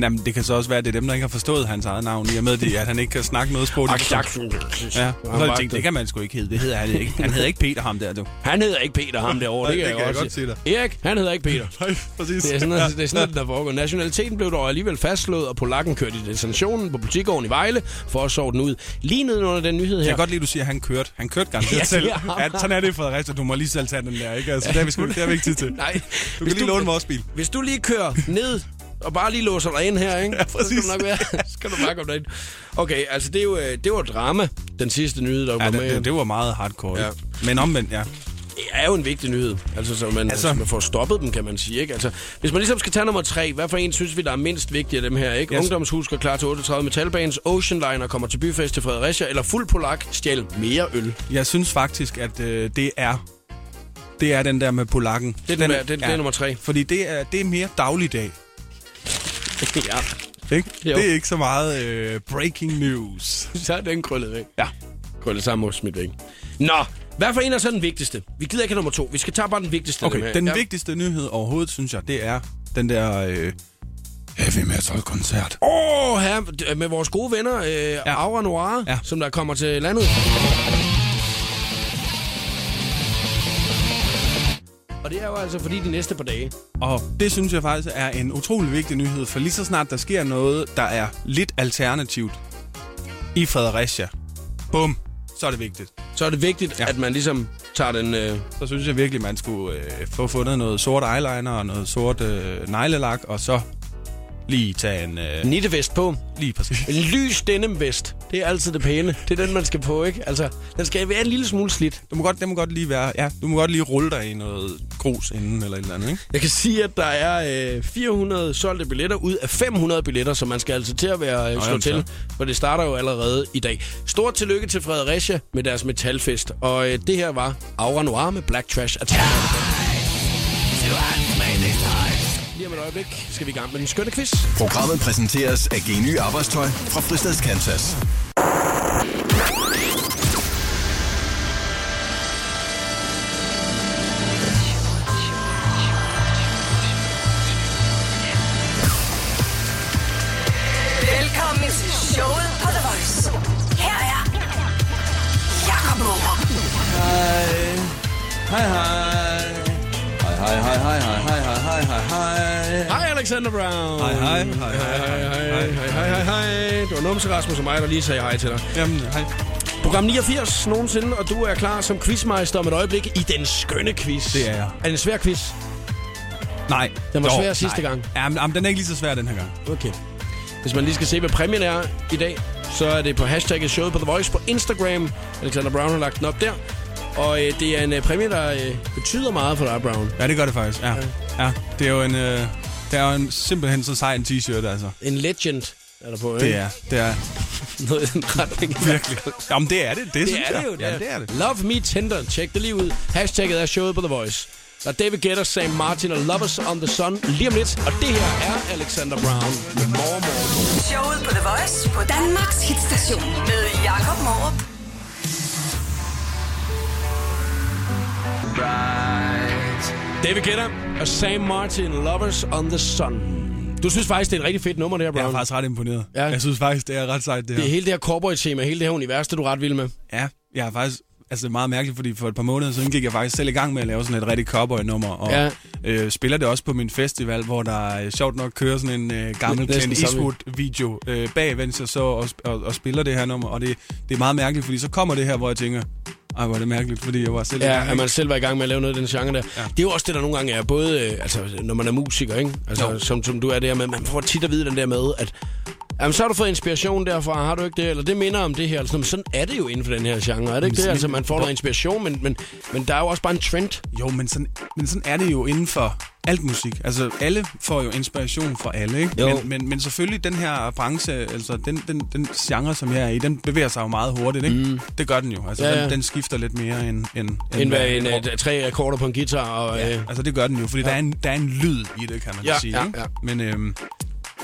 Speaker 2: Jamen, det kan så også være, at det er dem, der ikke har forstået hans eget navn, i og med, det, at han ikke kan snakke noget sprog. de
Speaker 1: Og
Speaker 2: forstår.
Speaker 1: tak.
Speaker 2: Ja, så
Speaker 1: Han,
Speaker 2: har jeg
Speaker 1: var-
Speaker 2: tænkt, det kan man sgu ikke hedde. Det hedder han ikke. Han hedder ikke Peter, ham der, du.
Speaker 1: han hedder ikke Peter, ham derovre.
Speaker 2: Nej,
Speaker 1: Det, kan jeg, godt sige dig. Erik, han hedder ikke Peter.
Speaker 2: Nej, præcis.
Speaker 1: Det er sådan, noget, det er sådan noget, der foregår. Nationaliteten blev dog alligevel fastslået, og polakken kørte i detentionen på butikgården i Vejle for at sove den ud. Lige nedenunder den nyhed
Speaker 2: Jeg
Speaker 1: her.
Speaker 2: kan godt lide, at du siger, at han kørte. Han kørte garanteret
Speaker 1: Ja,
Speaker 2: ja, selv.
Speaker 1: det har
Speaker 2: Ja, sådan er det, Fredericia. Du må lige selv tage den der, ikke? Altså, det har vi, sgu, det har vi ikke tid
Speaker 1: [laughs]
Speaker 2: til.
Speaker 1: Nej.
Speaker 2: Du
Speaker 1: Hvis
Speaker 2: kan lige
Speaker 1: du-
Speaker 2: låne vores bil.
Speaker 1: Hvis du lige kører ned og bare lige låser dig ind her, ikke?
Speaker 2: Ja,
Speaker 1: Så skal
Speaker 2: præcis.
Speaker 1: du nok være. [laughs] Så skal du bare komme derind. Okay, altså det, er jo, øh, det var drama, den sidste nyhed, der var
Speaker 2: Ja,
Speaker 1: med.
Speaker 2: det, det, det var meget hardcore.
Speaker 1: Ja.
Speaker 2: Ja. Men omvendt, ja.
Speaker 1: er jo en vigtig nyhed. Altså, så man, altså,
Speaker 2: Altså-
Speaker 1: man får stoppet dem, kan man sige. Ikke? Altså, hvis man ligesom skal tage nummer tre, hvad for en synes vi, der er mindst vigtig af dem her? Ikke? Yes.
Speaker 2: Yes.
Speaker 1: Ungdomshus går klar til 38 Metalbanes, Oceanliner kommer til byfest til Fredericia, eller fuld polak stjæl mere øl. [laughs]
Speaker 2: Jeg synes faktisk, at øh, det er... Det er den der med polakken.
Speaker 1: Det er, den, den, den, ja. det er nummer tre.
Speaker 2: Fordi det er, det er mere dagligdag.
Speaker 1: ja,
Speaker 2: Ikke?
Speaker 1: Jo.
Speaker 2: Det er ikke så meget øh, breaking news.
Speaker 1: så er den krøllet væk.
Speaker 2: Ja.
Speaker 1: Krøllet sammen og smidt væk. Nå, hvad for en er så den vigtigste? Vi gider ikke have nummer to. Vi skal tage bare den vigtigste. af dem her.
Speaker 2: Okay, den vigtigste nyhed overhovedet, synes jeg, det er den der øh, heavy metal-koncert.
Speaker 1: Åh, oh, her med vores gode venner, øh, ja. Aura Noir, ja.
Speaker 2: Ja.
Speaker 1: som der kommer til landet. Og det er jo altså fordi de næste par dage.
Speaker 2: Og det synes jeg faktisk er en utrolig vigtig nyhed, for lige så snart der sker noget, der er lidt alternativt i Fredericia, bum, så er det vigtigt.
Speaker 1: Så er det vigtigt, ja.
Speaker 2: Ja.
Speaker 1: at man ligesom tager den... Øh,
Speaker 2: Så synes jeg virkelig, man skulle øh, få fundet noget sort eyeliner og noget sort øh, neglelak, og så lige tage en... Øh,
Speaker 1: nittevest på.
Speaker 2: lige præcis.
Speaker 1: [laughs] En lys denimvest. Det er altid det pæne. Det er den, man skal på, ikke? Altså, den skal være en lille smule slidt.
Speaker 2: Du må godt, det må godt lige være... Ja, du må godt lige rulle dig i noget grus inden eller et eller andet, ikke?
Speaker 1: Jeg kan sige, at der er øh, 400 solgte billetter ud af 500 billetter, så man skal altså til at være øh, slå
Speaker 2: jamen,
Speaker 1: til,
Speaker 2: så.
Speaker 1: for det starter jo allerede i dag. Stort tillykke til Fredericia med deres metalfest, og øh, det her var Aura Noir med Black Trash Attack. Lige om et øjeblik skal vi i gang med den skønne quiz.
Speaker 6: Programmet præsenteres af Geny Arbejdstøj fra Fristads Kansas.
Speaker 9: Velkommen til showet på The Voice. Her er Jakob Morup.
Speaker 5: Hej, hej. Hej, hej, hej, hej, hej, hej, hej, hej, hej, hej.
Speaker 1: Hej Alexander Brown!
Speaker 2: Hej, hej, hej, hej,
Speaker 1: Hej,
Speaker 2: hej,
Speaker 1: hej, hej, hej, hej, hej. Det var Numse Rasmus og mig, der lige sagde hej til dig.
Speaker 2: Jamen, hej.
Speaker 1: Program 89 nogensinde, og du er klar som quizmeister om et øjeblik i den skønne quiz.
Speaker 2: Det er jeg.
Speaker 1: Er det en svær quiz?
Speaker 2: Nej.
Speaker 1: Den var
Speaker 2: dog,
Speaker 1: svær sidste gang.
Speaker 2: Jamen, jamen, den er ikke lige så svær den her gang.
Speaker 1: Okay. Hvis man lige skal se, hvad præmien er i dag, så er det på hashtagget showet på The Voice på Instagram. Alexander Brown har lagt den op der. Og øh, det er en øh, præmie, der øh, betyder meget for dig, Brown.
Speaker 2: Ja, det gør det faktisk. Ja. ja. Det er jo en, øh, det er jo en, simpelthen så sej en t-shirt, altså.
Speaker 1: En legend er der på, ikke?
Speaker 2: Det er, det er
Speaker 1: [laughs] Noget i den retning.
Speaker 2: [laughs] virkelig. Jamen, det er det. Det,
Speaker 1: Det
Speaker 2: synes
Speaker 1: er det
Speaker 2: jeg.
Speaker 1: jo.
Speaker 2: Ja, det er det.
Speaker 1: Love me tender. Tjek det lige ud. Hashtagget er showet på The Voice. Der er David Guetta, Sam Martin og Lovers on the Sun lige om lidt. Og det her er Alexander Brown med mormor.
Speaker 9: Showet på The Voice på Danmarks hitstation med Jakob Morup.
Speaker 1: David Guetta og Sam Martin, Lovers on the Sun. Du synes faktisk, det er et rigtig fedt nummer, det her, Brown.
Speaker 2: Jeg er faktisk ret imponeret.
Speaker 1: Ja.
Speaker 2: Ja. Jeg synes faktisk, det er ret sejt, det her.
Speaker 1: Det er hele det her corporate-tema, hele det her univers, det er du ret vild med.
Speaker 2: Ja, jeg er faktisk... Altså, det er meget mærkeligt, fordi for et par måneder siden gik jeg faktisk selv i gang med at lave sådan et rigtigt cowboy-nummer, og
Speaker 1: Ja.
Speaker 2: ja. øh, spiller det også på min festival, hvor der øh, sjovt nok kører sådan en øh, gammel
Speaker 1: Næsten
Speaker 2: Clint
Speaker 1: samme.
Speaker 2: Eastwood-video øh, bag, mens jeg så og, og, og spiller det her nummer, og det, det er meget mærkeligt, fordi så kommer det her, hvor jeg tænker, Ej, hvor er det mærkeligt, fordi jeg var selv... i gang,
Speaker 1: Ja, at
Speaker 2: ikke?
Speaker 1: man selv var i gang med at lave noget af den genre der. Ja. Det er jo også det, der nogle gange er, både øh, altså, når man er musiker, ikke? Altså,
Speaker 2: Jo.
Speaker 1: som, som du er der med, man får tit at vide den der med, at jamen, så har du fået inspiration derfra, har du ikke det, eller det minder om det her. Eller sådan, noget. sådan er det jo inden for den her genre, er det ikke det? Altså, man får noget inspiration, men, men, men der er jo også bare en trend.
Speaker 2: Jo, men sådan, men sådan er det jo inden for alt musik. Altså, alle får jo inspiration fra alle, ikke?
Speaker 1: Jo.
Speaker 2: Men, men, men selvfølgelig, den her branche, altså den, den, den genre, som jeg er i, den bevæger sig jo meget hurtigt, ikke? Mm. Det gør den jo. Altså,
Speaker 1: Ja,
Speaker 2: ja,
Speaker 1: ja.
Speaker 2: Den, den skifter lidt mere end... End,
Speaker 1: End hvad en,
Speaker 2: end-
Speaker 1: øh, tre akkorder på en guitar, og øh,
Speaker 2: Ja, altså det gør den jo, fordi ja. der, er en, der er en lyd i det, kan man
Speaker 1: Ja,
Speaker 2: sige.
Speaker 1: ja,
Speaker 2: ikke?
Speaker 1: ja.
Speaker 2: Men, øhm,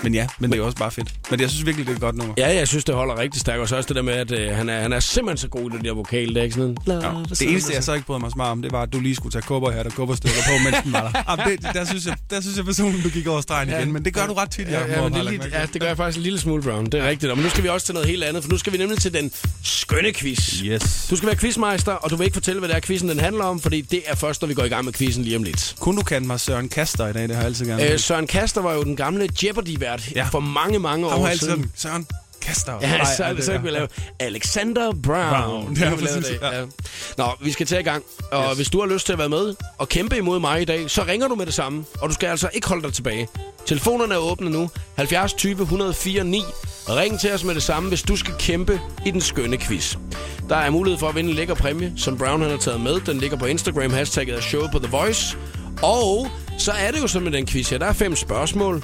Speaker 2: men ja, men det er jo også bare fedt. Men jeg synes virkelig, det er et godt nummer.
Speaker 1: Ja, jeg synes, det holder rigtig stærkt. Og så også det der med, at øh, han, er, han er simpelthen så god i det der vokal. Der, ikke sådan noget.
Speaker 2: Ja. Det eneste, jeg så ikke brød mig så meget om, det var, at du lige skulle tage kopper her, der kopper støvler på, mens den var
Speaker 1: [laughs]
Speaker 2: der. Ah, det, der, synes jeg, der synes jeg personligt, du gik over stregen igen, men det gør du ret tit,
Speaker 1: Ja,
Speaker 2: Jacob,
Speaker 1: ja,
Speaker 2: må
Speaker 1: men
Speaker 2: jeg
Speaker 1: det,
Speaker 2: bare
Speaker 1: er
Speaker 2: lægge
Speaker 1: lige,
Speaker 2: mærke til.
Speaker 1: ja, det gør jeg faktisk en lille smule, Brown. Det er rigtigt. Og Men nu skal vi også til noget helt andet, for nu skal vi nemlig til den skønne quiz.
Speaker 2: Yes.
Speaker 1: Du skal være quizmeister, og du vil ikke fortælle, hvad det er, quizzen den handler om, fordi det er først, når vi går i gang med quizzen lige om lidt.
Speaker 2: Kun du kan mig Søren Kaster i dag, det har jeg altid gerne.
Speaker 1: Øh,
Speaker 2: Øh,
Speaker 1: Søren Kaster var jo den gamle Jeopardy-vært ja.
Speaker 2: Ja.
Speaker 1: for mange, mange
Speaker 2: han var
Speaker 1: år
Speaker 2: altid
Speaker 1: siden.
Speaker 2: sådan, Søren Kaster.
Speaker 1: Ja,
Speaker 2: Ej,
Speaker 1: så,
Speaker 2: ej,
Speaker 1: så,
Speaker 2: det
Speaker 1: så
Speaker 2: der.
Speaker 1: kan vi lave Alexander Brown.
Speaker 2: Brown.
Speaker 1: Så
Speaker 2: Ja,
Speaker 1: kan vi lave
Speaker 2: præcis,
Speaker 1: det,
Speaker 2: ja.
Speaker 1: Nå, vi skal til i gang. Og yes. hvis du har lyst til at være med og kæmpe imod mig i dag, så ringer du med det samme. Og du skal altså ikke holde dig tilbage. Telefonerne er åbne nu. 70 20 104 9. Ring til os med det samme, hvis du skal kæmpe i den skønne quiz. Der er mulighed for at vinde en lækker præmie, som Brown han har taget med. Den ligger på Instagram. Hashtagget er showet på The Voice. Og så er det jo sådan med den quiz her. Der er fem spørgsmål.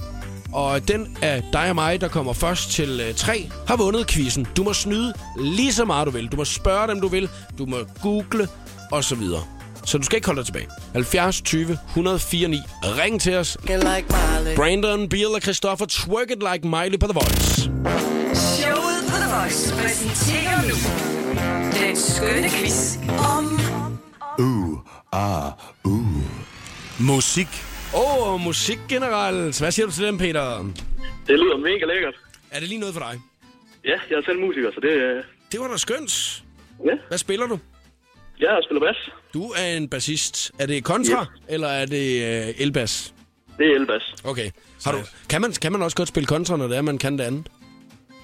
Speaker 1: Og den af dig og mig, der kommer først til øh, tre, har vundet quizzen. Du må snyde lige så meget, du vil. Du må spørge dem, du vil. Du må google og så videre. Så du skal ikke holde dig tilbage. 70 20 104 9. Ring til os.
Speaker 9: Like Marley.
Speaker 1: Brandon, Biel og Christoffer twerk it like Miley på The Voice.
Speaker 9: Showet på The Voice præsenterer nu den skønne quiz om...
Speaker 2: Musik.
Speaker 1: Åh, oh, musik generelt. Hvad siger du til dem, Peter?
Speaker 10: Det lyder mega lækkert.
Speaker 1: Er det lige noget for dig?
Speaker 10: Ja, jeg er selv musiker, så det... øh,
Speaker 1: Det var da skønt.
Speaker 10: Ja,
Speaker 1: Hvad spiller du?
Speaker 10: jeg spiller bas.
Speaker 1: Du er en bassist. Er det kontra, eller er det øh, elbas?
Speaker 10: Det er elbas.
Speaker 1: Okay. Har du, kan, man, kan man også godt spille kontra, når det er, man kan det andet?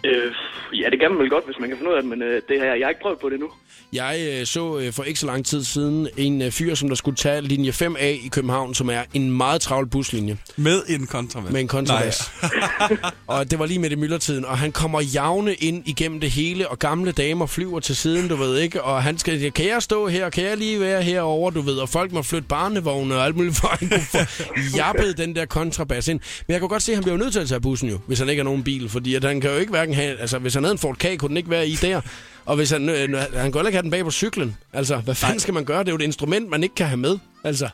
Speaker 10: Øh, ja, det kan man vel godt, hvis man kan finde ud af det, men øh, det har jeg, jeg har ikke prøvet på det nu.
Speaker 1: Jeg øh, så øh, for ikke så lang tid siden en øh, fyr, som der skulle tage linje 5A i København, som er en meget travl buslinje
Speaker 2: Med en kontrabas.
Speaker 1: med en kontrabas. [laughs] og det var lige midt i myldretiden, og han kommer javne ind igennem det hele, og gamle damer flyver til siden, du ved ikke, og han skal, kan jeg stå her, kan jeg lige være herover, du ved, og folk må flytte barnevogne og alt muligt, for han kunne [laughs] få jappet den der kontrabas ind. Men jeg kunne godt se, at han bliver jo nødt til at tage bussen jo, hvis han ikke har nogen bil, fordi at han kan jo ikke hverken have, altså hvis han havde en Ford K, kunne den ikke være i der. Og hvis han, øh, han kan jo heller ikke have den bag på cyklen. Altså, hvad fanden skal man gøre? Det er jo et instrument, man ikke kan have med. Altså,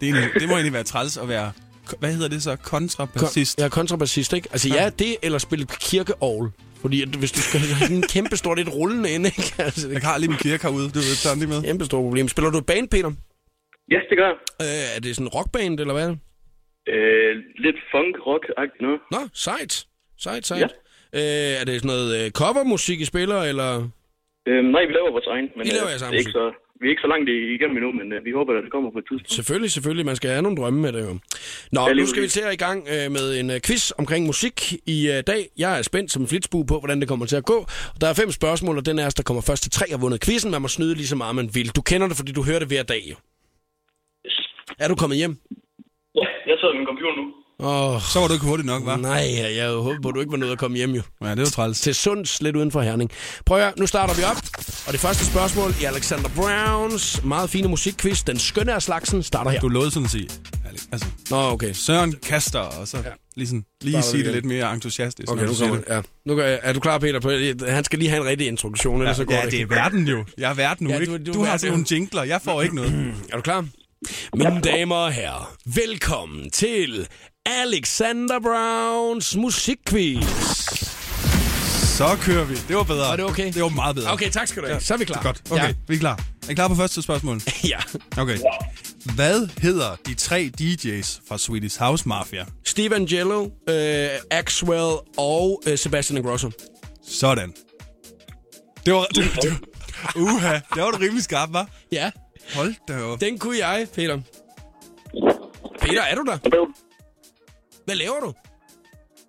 Speaker 2: Det, er egentlig, det må egentlig være træls at være... Hvad hedder det så? Kontrabassist.
Speaker 1: Kon- ja, kontrabassist, ikke? Altså ja, det eller spille kirkeovl. Fordi at, hvis du skal have sådan en kæmpe stor lidt rullende ind, ikke? [laughs] Altså, det
Speaker 2: Jeg
Speaker 1: er
Speaker 2: har lige min kirke herude, du ved, sådan lige med.
Speaker 1: et kæmpe stort problem. Spiller du i band, Peter?
Speaker 10: Ja, det gør jeg.
Speaker 1: Øh, er det sådan en rockband, eller hvad er det?
Speaker 10: Øh, lidt funk-rock-agtigt noget.
Speaker 1: Nå, sejt. Sejt, sejt. Ja. Øh, er det sådan noget øh, covermusik, I spiller, eller...
Speaker 10: Øh, nej, vi laver vores egen, men
Speaker 1: I laver
Speaker 10: øh,
Speaker 1: jeres egen
Speaker 10: det er ikke så, vi er ikke så langt i- igennem endnu, men øh, vi håber, at det kommer på et tidspunkt.
Speaker 1: Selvfølgelig, selvfølgelig. Man skal have nogle drømme med det jo. Nå,
Speaker 10: Ja, lige
Speaker 1: nu skal vi til
Speaker 10: præcis.
Speaker 1: at i gang øh, med en øh, quiz omkring musik i øh, dag. Jeg er spændt som en flitsbue på, hvordan det kommer til at gå. Der er fem spørgsmål, og den er, der kommer først til tre har vundet quizzen. Man må snyde lige så meget, man vil. Du kender det, fordi du hører det hver dag jo. Er du kommet hjem?
Speaker 10: Ja, jeg sidder med min computer nu.
Speaker 1: Åh, oh,
Speaker 2: Så var du ikke hurtigt nok, var?
Speaker 1: nej, jeg, jeg håber på, at du ikke var nødt at komme hjem jo.
Speaker 2: Ja, det var træls.
Speaker 1: Til Sunds, lidt uden for Herning. Prøv at høre, nu starter vi op. Og det første spørgsmål i Alexander Browns meget fine musikquiz, den skønne af slagsen, starter her.
Speaker 2: Du lovede sådan at sige... Altså,
Speaker 1: Nå, okay.
Speaker 2: Søren Kaster, og så lige, sådan, lige
Speaker 1: Starter vi
Speaker 2: sige det
Speaker 1: igen.
Speaker 2: lidt mere entusiastisk.
Speaker 1: Okay,
Speaker 2: når
Speaker 1: nu
Speaker 2: du siger
Speaker 1: kommer
Speaker 2: det.
Speaker 1: ja. nu gør jeg, Er du klar, Peter? På- Han skal lige have en rigtig introduktion, ellers ja, så går
Speaker 2: Ja,
Speaker 1: det
Speaker 2: det
Speaker 1: ikke.
Speaker 2: er verden jo. Jeg er verden nu,
Speaker 1: Ja, du-
Speaker 2: ikke?
Speaker 1: du er
Speaker 2: Du har
Speaker 1: verden,
Speaker 2: sådan nogle jingler. Jeg får ikke noget.
Speaker 1: Er du klar? Mine damer og herrer, velkommen til Alexander Browns musikquiz.
Speaker 2: Så kører vi. Det var bedre.
Speaker 1: Var det okay?
Speaker 2: Det var meget bedre.
Speaker 1: Okay, tak skal du have.
Speaker 2: Ja,
Speaker 1: Så er vi klar.
Speaker 2: Godt. Okay,
Speaker 1: Ja.
Speaker 2: ja. vi er klar. Er I klar på første spørgsmål?
Speaker 1: Ja.
Speaker 2: Okay. Hvad hedder de tre DJ's fra Swedish House Mafia?
Speaker 1: Steve Angelo, øh, Axwell og øh, Sebastian Grosso.
Speaker 2: Sådan. Det var... Det, det, uha, det var du rimelig skarp, var.
Speaker 1: Ja,
Speaker 2: Hold da op.
Speaker 1: den kunne jeg, Peter. Peter, er du der?
Speaker 10: Og bøv.
Speaker 1: Hvad laver du?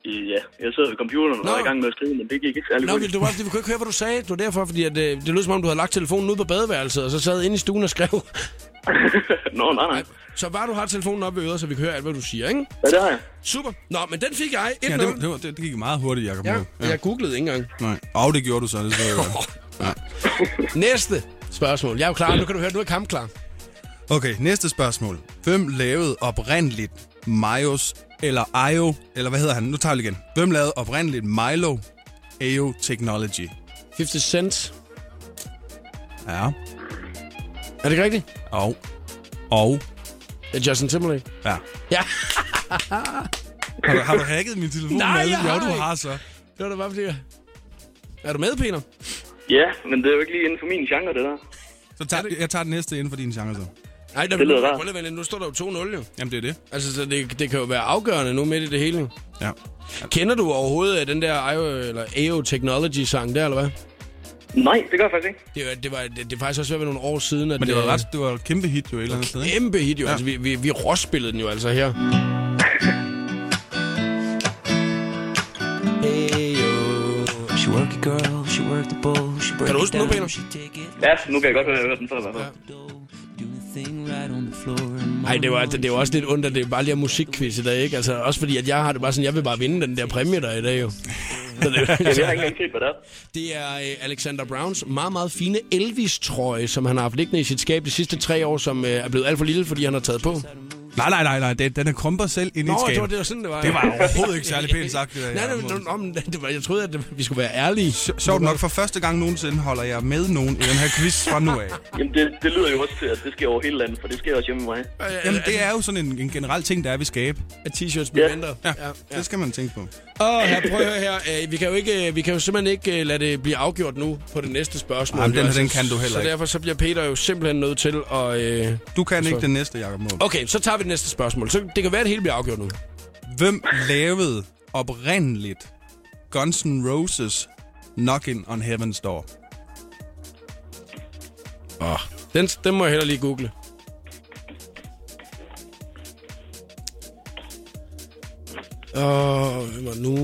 Speaker 10: Ja, jeg sad ved computeren og var i gang med at skrive, men det gik ikke særlig
Speaker 1: Nå,
Speaker 10: hurtigt.
Speaker 1: det var bare, fordi vi kunne ikke høre, hvad du sagde. Det var derfor, fordi at, øh, det lød som om, du havde lagt telefonen ude på badeværelset, og så sad inde i stuen og skrev.
Speaker 10: [laughs] Nå, nej, nej.
Speaker 1: Så bare du har telefonen oppe ved øret, så vi kan høre alt, hvad du siger, ikke?
Speaker 10: Ja, det har jeg.
Speaker 1: Super. Nå, men den fik jeg. 1-0.
Speaker 2: Ja, det, var- det, var- det, det gik meget hurtigt, Jacob.
Speaker 1: Ja,
Speaker 2: Mårup.
Speaker 1: jeg googlede ikke engang.
Speaker 2: Nej. Og det gjorde du så, det så jeg. Nej.
Speaker 1: Næste spørgsmål. Jeg er jo klar. Nu kan du høre, du er kampklar.
Speaker 2: Okay, næste spørgsmål. Hvem lavede oprindeligt Majos eller Io, eller hvad hedder han? Nu tager vi det igen. Hvem lavede oprindeligt Milo AO Technology?
Speaker 1: 50 Cent.
Speaker 2: Ja.
Speaker 1: Er det ikke rigtigt?
Speaker 2: Og. Og.
Speaker 1: Det er Justin Timberlake.
Speaker 2: Ja.
Speaker 1: Ja.
Speaker 2: Har du, har du hacket min telefon?
Speaker 1: Nej,
Speaker 2: Malte?
Speaker 1: jeg har
Speaker 2: Jo, du
Speaker 1: ikke.
Speaker 2: har så.
Speaker 1: Det var da bare fordi... jeg- Er du med, Peter?
Speaker 10: Ja, men det er jo ikke lige inden for min genre, det der.
Speaker 2: Så tager, jeg tager den næste inden for din genre, så.
Speaker 1: Nej, der,
Speaker 10: Det lyder rart.
Speaker 1: prøv lige at vente. Nu står der jo 2-0, jo.
Speaker 2: Jamen, det er det.
Speaker 1: Altså, så det, det kan jo være afgørende nu midt i det hele. jo.
Speaker 2: Ja.
Speaker 1: Kender du overhovedet øh, den der IO, eller AO Technology-sang der, eller hvad?
Speaker 10: Nej, det gør jeg faktisk ikke.
Speaker 1: Det, var, det, var, det, det er faktisk også været nogle år siden, at
Speaker 2: Men det var
Speaker 1: øh,
Speaker 2: ret, det var et kæmpe hit jo et eller andet sted, ikke?
Speaker 1: kæmpe hit, jo.
Speaker 2: Ja.
Speaker 1: Ja. Altså, vi, vi, vi råspillede den jo altså her.
Speaker 11: She work it, girl. She work the bowl. She break
Speaker 1: Kan du
Speaker 11: it
Speaker 1: huske den nu,
Speaker 11: down.
Speaker 1: Peter?
Speaker 11: She take it.
Speaker 10: Ja, nu kan jeg godt høre, at jeg har hørt den før i hvert fald.
Speaker 11: Thing right on the floor.
Speaker 1: Ej, det var, det, det var også lidt ondt, at det bare lige er musikquiz i dag, ikke? Altså, også fordi, at jeg har det bare sådan, jeg vil bare vinde den der præmie, der er i dag, jo. Så
Speaker 10: Jamen, [laughs] jeg har
Speaker 1: det,
Speaker 10: ikke engang set, hvad
Speaker 1: det
Speaker 10: det er.
Speaker 1: er øh, Alexander Browns meget, meget fine Elvis-trøje, som han har haft liggende i sit skab de sidste tre år, som øh, er blevet alt for lille, fordi han har taget på.
Speaker 2: Nej, nej, nej, nej. Den, den er krumper selv ind i et
Speaker 1: Nå,
Speaker 2: skab.
Speaker 1: det var, det var sådan, det var.
Speaker 2: Det var overhovedet ikke særlig pænt sagt, det
Speaker 1: [laughs]
Speaker 2: der.
Speaker 1: Nej,
Speaker 2: Jacob
Speaker 1: nej,
Speaker 2: Mårup.
Speaker 1: nej, nej, det var, jeg troede, at det, vi skulle være ærlige.
Speaker 2: Sjovt nok, for første gang nogensinde holder jeg med nogen i den her quiz fra nu [laughs] af.
Speaker 10: Jamen, det, det lyder jo også til, at det sker over hele landet, for det sker også hjemme med mig.
Speaker 2: Jamen, det er jo sådan en, en generel ting, der er ved skabe.
Speaker 1: At t-shirts bliver
Speaker 10: Ja.
Speaker 1: mindre.
Speaker 2: Ja, det skal man tænke på.
Speaker 1: Åh, her, prøv at høre her. Øh, Vi kan jo, ikke, øh, vi kan jo simpelthen ikke øh, lade det blive afgjort nu på det næste spørgsmål.
Speaker 2: Jamen, den her,
Speaker 1: Altså,
Speaker 2: den kan du heller
Speaker 1: Så
Speaker 2: ikke.
Speaker 1: derfor så bliver Peter jo simpelthen nødt til at... Øh...
Speaker 2: Du kan
Speaker 1: Så-
Speaker 2: ikke den næste, Jacob Måb.
Speaker 1: Okay, så tager vi det næste spørgsmål. Så det kan være, at det hele bliver afgjort nu.
Speaker 2: Hvem lavede oprindeligt Guns N' Roses Knockin' on Heaven's Door?
Speaker 1: Oh. Den, den må jeg heller lige google. Åh, oh, hvem var det nu...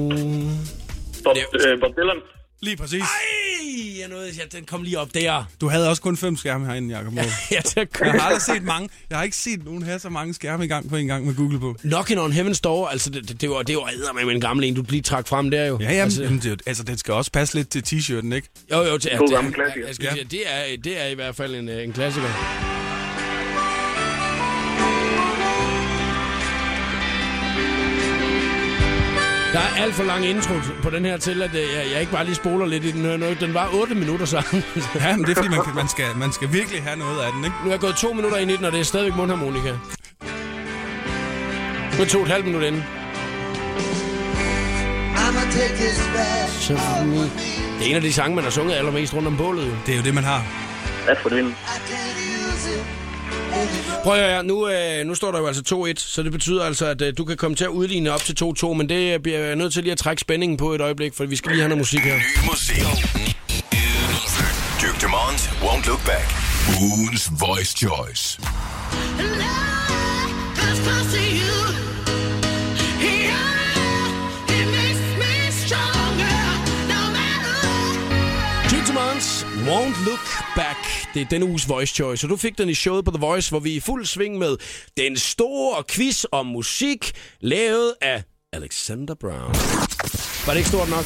Speaker 10: Bob, øh, Bob Dylan.
Speaker 2: Lige præcis.
Speaker 1: Ej, jeg nåede, ja, den kom lige op der. [laughs]
Speaker 2: Du havde også kun fem skærme herinde, Jacob Måb.
Speaker 1: Ja, der kom.
Speaker 2: Jeg har aldrig set mange. Jeg har ikke set nogen have så mange skærme i gang på en gang med Google på.
Speaker 1: Knocking on Heaven's Door, altså det, det, det var, det var med en gammel en, du lige trak frem der jo.
Speaker 2: Ja, jamen, altså,
Speaker 1: Altså,
Speaker 2: jamen det, er jo- altså, den skal også passe lidt til t-shirten, ikke?
Speaker 1: Jo, jo, det er,
Speaker 10: God
Speaker 1: det,
Speaker 10: gammel
Speaker 1: er,
Speaker 10: klassiker.
Speaker 1: jeg skal
Speaker 2: Ja.
Speaker 1: sige, det, er, det er i hvert fald en, øh, en klassiker. Der er alt for lang intro på den her til, at øh, jeg, jeg ikke bare lige spoler lidt i den her. Nu- Den var 8 minutter så. [laughs]
Speaker 2: Ja, men det er fordi, man, kan, man, skal, man skal virkelig have noget af den, ikke?
Speaker 1: nu er jeg gået to minutter ind i den, og det er stadigvæk mundharmonika. Nu er to og et halvt minut inden. Så, det er en af de sange, man har sunget allermest rundt om bålet. Jo.
Speaker 2: Det er jo det, man har.
Speaker 10: Ja, for den.
Speaker 1: Prøv at høre, nu, øh, nu står der jo altså 2-1, så det betyder altså, at øh, du kan komme til at udligne op til 2-2, men det øh, bliver jeg nødt til lige at trække spændingen på et øjeblik, for vi skal lige have noget musik her.
Speaker 6: Ny musik. Duke Dumont won't look back. Ugens Voice Choice.
Speaker 1: Gentleman's Won't Look Back. Det er denne uges Voice Choice, og du fik den i showet på The Voice, hvor vi er i fuld sving med den store quiz om musik, lavet af Alexander Brown. Var det ikke stort nok?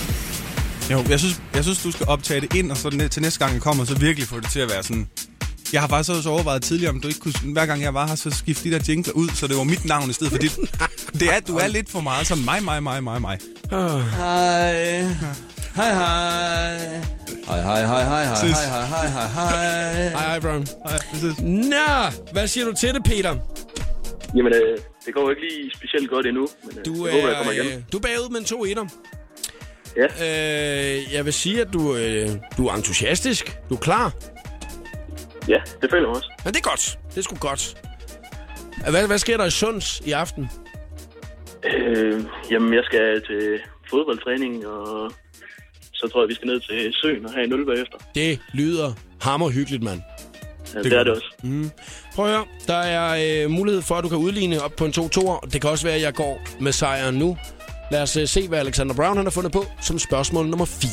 Speaker 2: Jo, jeg synes, jeg synes, du skal optage det ind, og så næ- til næste gang, jeg kommer, så virkelig få det til at være sådan... Jeg har faktisk også overvejet tidligere, om du ikke kunne... Hver gang jeg var her, så skifte de der jingler ud, så det var mit navn i stedet for dit. Det er, du er lidt for meget som mig, mig, mig, mig, mig.
Speaker 5: Hej. Hej, hej. Hej, hej, hej, hej, hej,
Speaker 2: Ses.
Speaker 5: hej, hej, hej, hej, hej.
Speaker 1: Hej, hej, Brown.
Speaker 2: Ej, præcis.
Speaker 1: Nå, hvad siger du til det, Peter?
Speaker 10: Jamen, øh, det går jo ikke lige specielt godt endnu, men øh,
Speaker 1: Du
Speaker 10: jeg håber, jeg
Speaker 1: er,
Speaker 10: kommer igen.
Speaker 1: øh, du er bagud med en 2 1
Speaker 10: Ja.
Speaker 1: Øh, jeg vil sige, at du, øh, du er entusiastisk. Du er klar.
Speaker 10: Ja, det føler jeg også.
Speaker 1: Men det er godt. Det er sgu godt. Hvad, hvad sker der i Sunds i aften?
Speaker 10: Øh, jamen, jeg skal til fodboldtræning, og så tror jeg, vi skal ned til søen og have en øl bagefter.
Speaker 1: Det lyder hammerhyggeligt, mand.
Speaker 10: Ja, det, det er det også.
Speaker 1: Prøv at høre. Der er øh, mulighed for, at du kan udligne op på en 2 2 Det kan også være, at jeg går med sejren nu. Lad os øh, se, hvad Alexander Brown han har fundet på som spørgsmål nummer 4.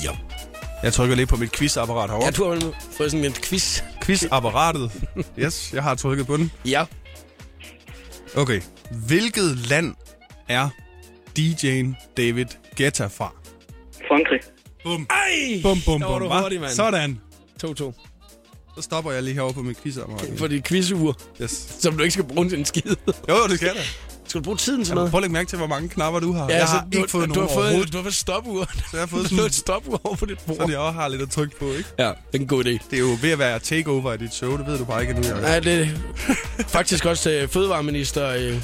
Speaker 2: Jeg trykker lige på mit quizapparat herovre.
Speaker 1: Ja, du har vel fået sådan en quiz.
Speaker 2: Quizapparatet. Yes, jeg har trykket på den.
Speaker 1: Ja.
Speaker 2: Okay. Hvilket land er DJ'en David Guetta fra?
Speaker 10: Frankrig.
Speaker 2: Bum.
Speaker 1: Ej!
Speaker 2: Bum, bum,
Speaker 1: Der var
Speaker 2: bum.
Speaker 1: du
Speaker 2: hva?
Speaker 1: hurtig, mand.
Speaker 2: Sådan.
Speaker 1: 2-2.
Speaker 2: Så stopper jeg lige herovre på mit quizapparat.
Speaker 1: For dit quizuger,
Speaker 2: Yes.
Speaker 1: som du ikke skal bruge til en skid.
Speaker 2: Jo, jo, det skal jeg da.
Speaker 1: Skal du bruge tiden til
Speaker 2: Kan du
Speaker 1: noget?
Speaker 2: prøve at lægge mærke til, hvor mange knapper du har? jeg
Speaker 1: altså,
Speaker 2: har ikke
Speaker 1: du,
Speaker 2: fået
Speaker 1: du,
Speaker 2: nogen
Speaker 1: har fået,
Speaker 2: overhovedet.
Speaker 1: du har fået et stopur.
Speaker 2: Så jeg har
Speaker 1: [laughs]
Speaker 2: fået
Speaker 1: Du har
Speaker 2: sådan,
Speaker 1: et stopur over på dit bord.
Speaker 2: så jeg også har lidt at trykke på, ikke?
Speaker 1: Ja, det er en god idé.
Speaker 2: Det er jo ved at være takeover i dit show, det ved du bare ikke endnu.
Speaker 1: Ja, det er faktisk også til fødevareminister øh,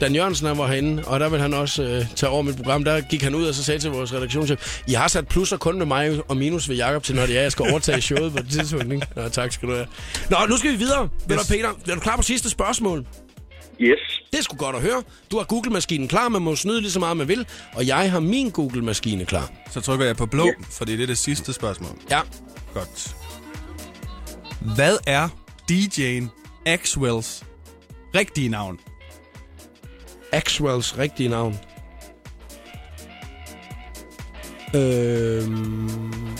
Speaker 1: Dan Jørgensen, han var herinde, og der vil han også øh, tage over mit program. Der gik han ud og så sagde til vores redaktionschef, I har sat plusser kun med mig og minus ved Jakob til, når det er, jeg skal overtage showet på det tidspunkt. Ikke? Nå, tak skal du have. Nå, nu skal vi videre. Yes. Peter, er du klar på sidste spørgsmål?
Speaker 10: Yes.
Speaker 1: Det er sgu godt at høre. Du har Google-maskinen klar, man må snyde lige så meget, man vil, og jeg har min Google-maskine klar.
Speaker 2: Så trykker jeg på blå, yeah. for det er det, det sidste spørgsmål.
Speaker 1: Ja,
Speaker 2: Godt. Hvad er DJ'en Axwells rigtige navn?
Speaker 1: Axwells rigtige navn. Øhm...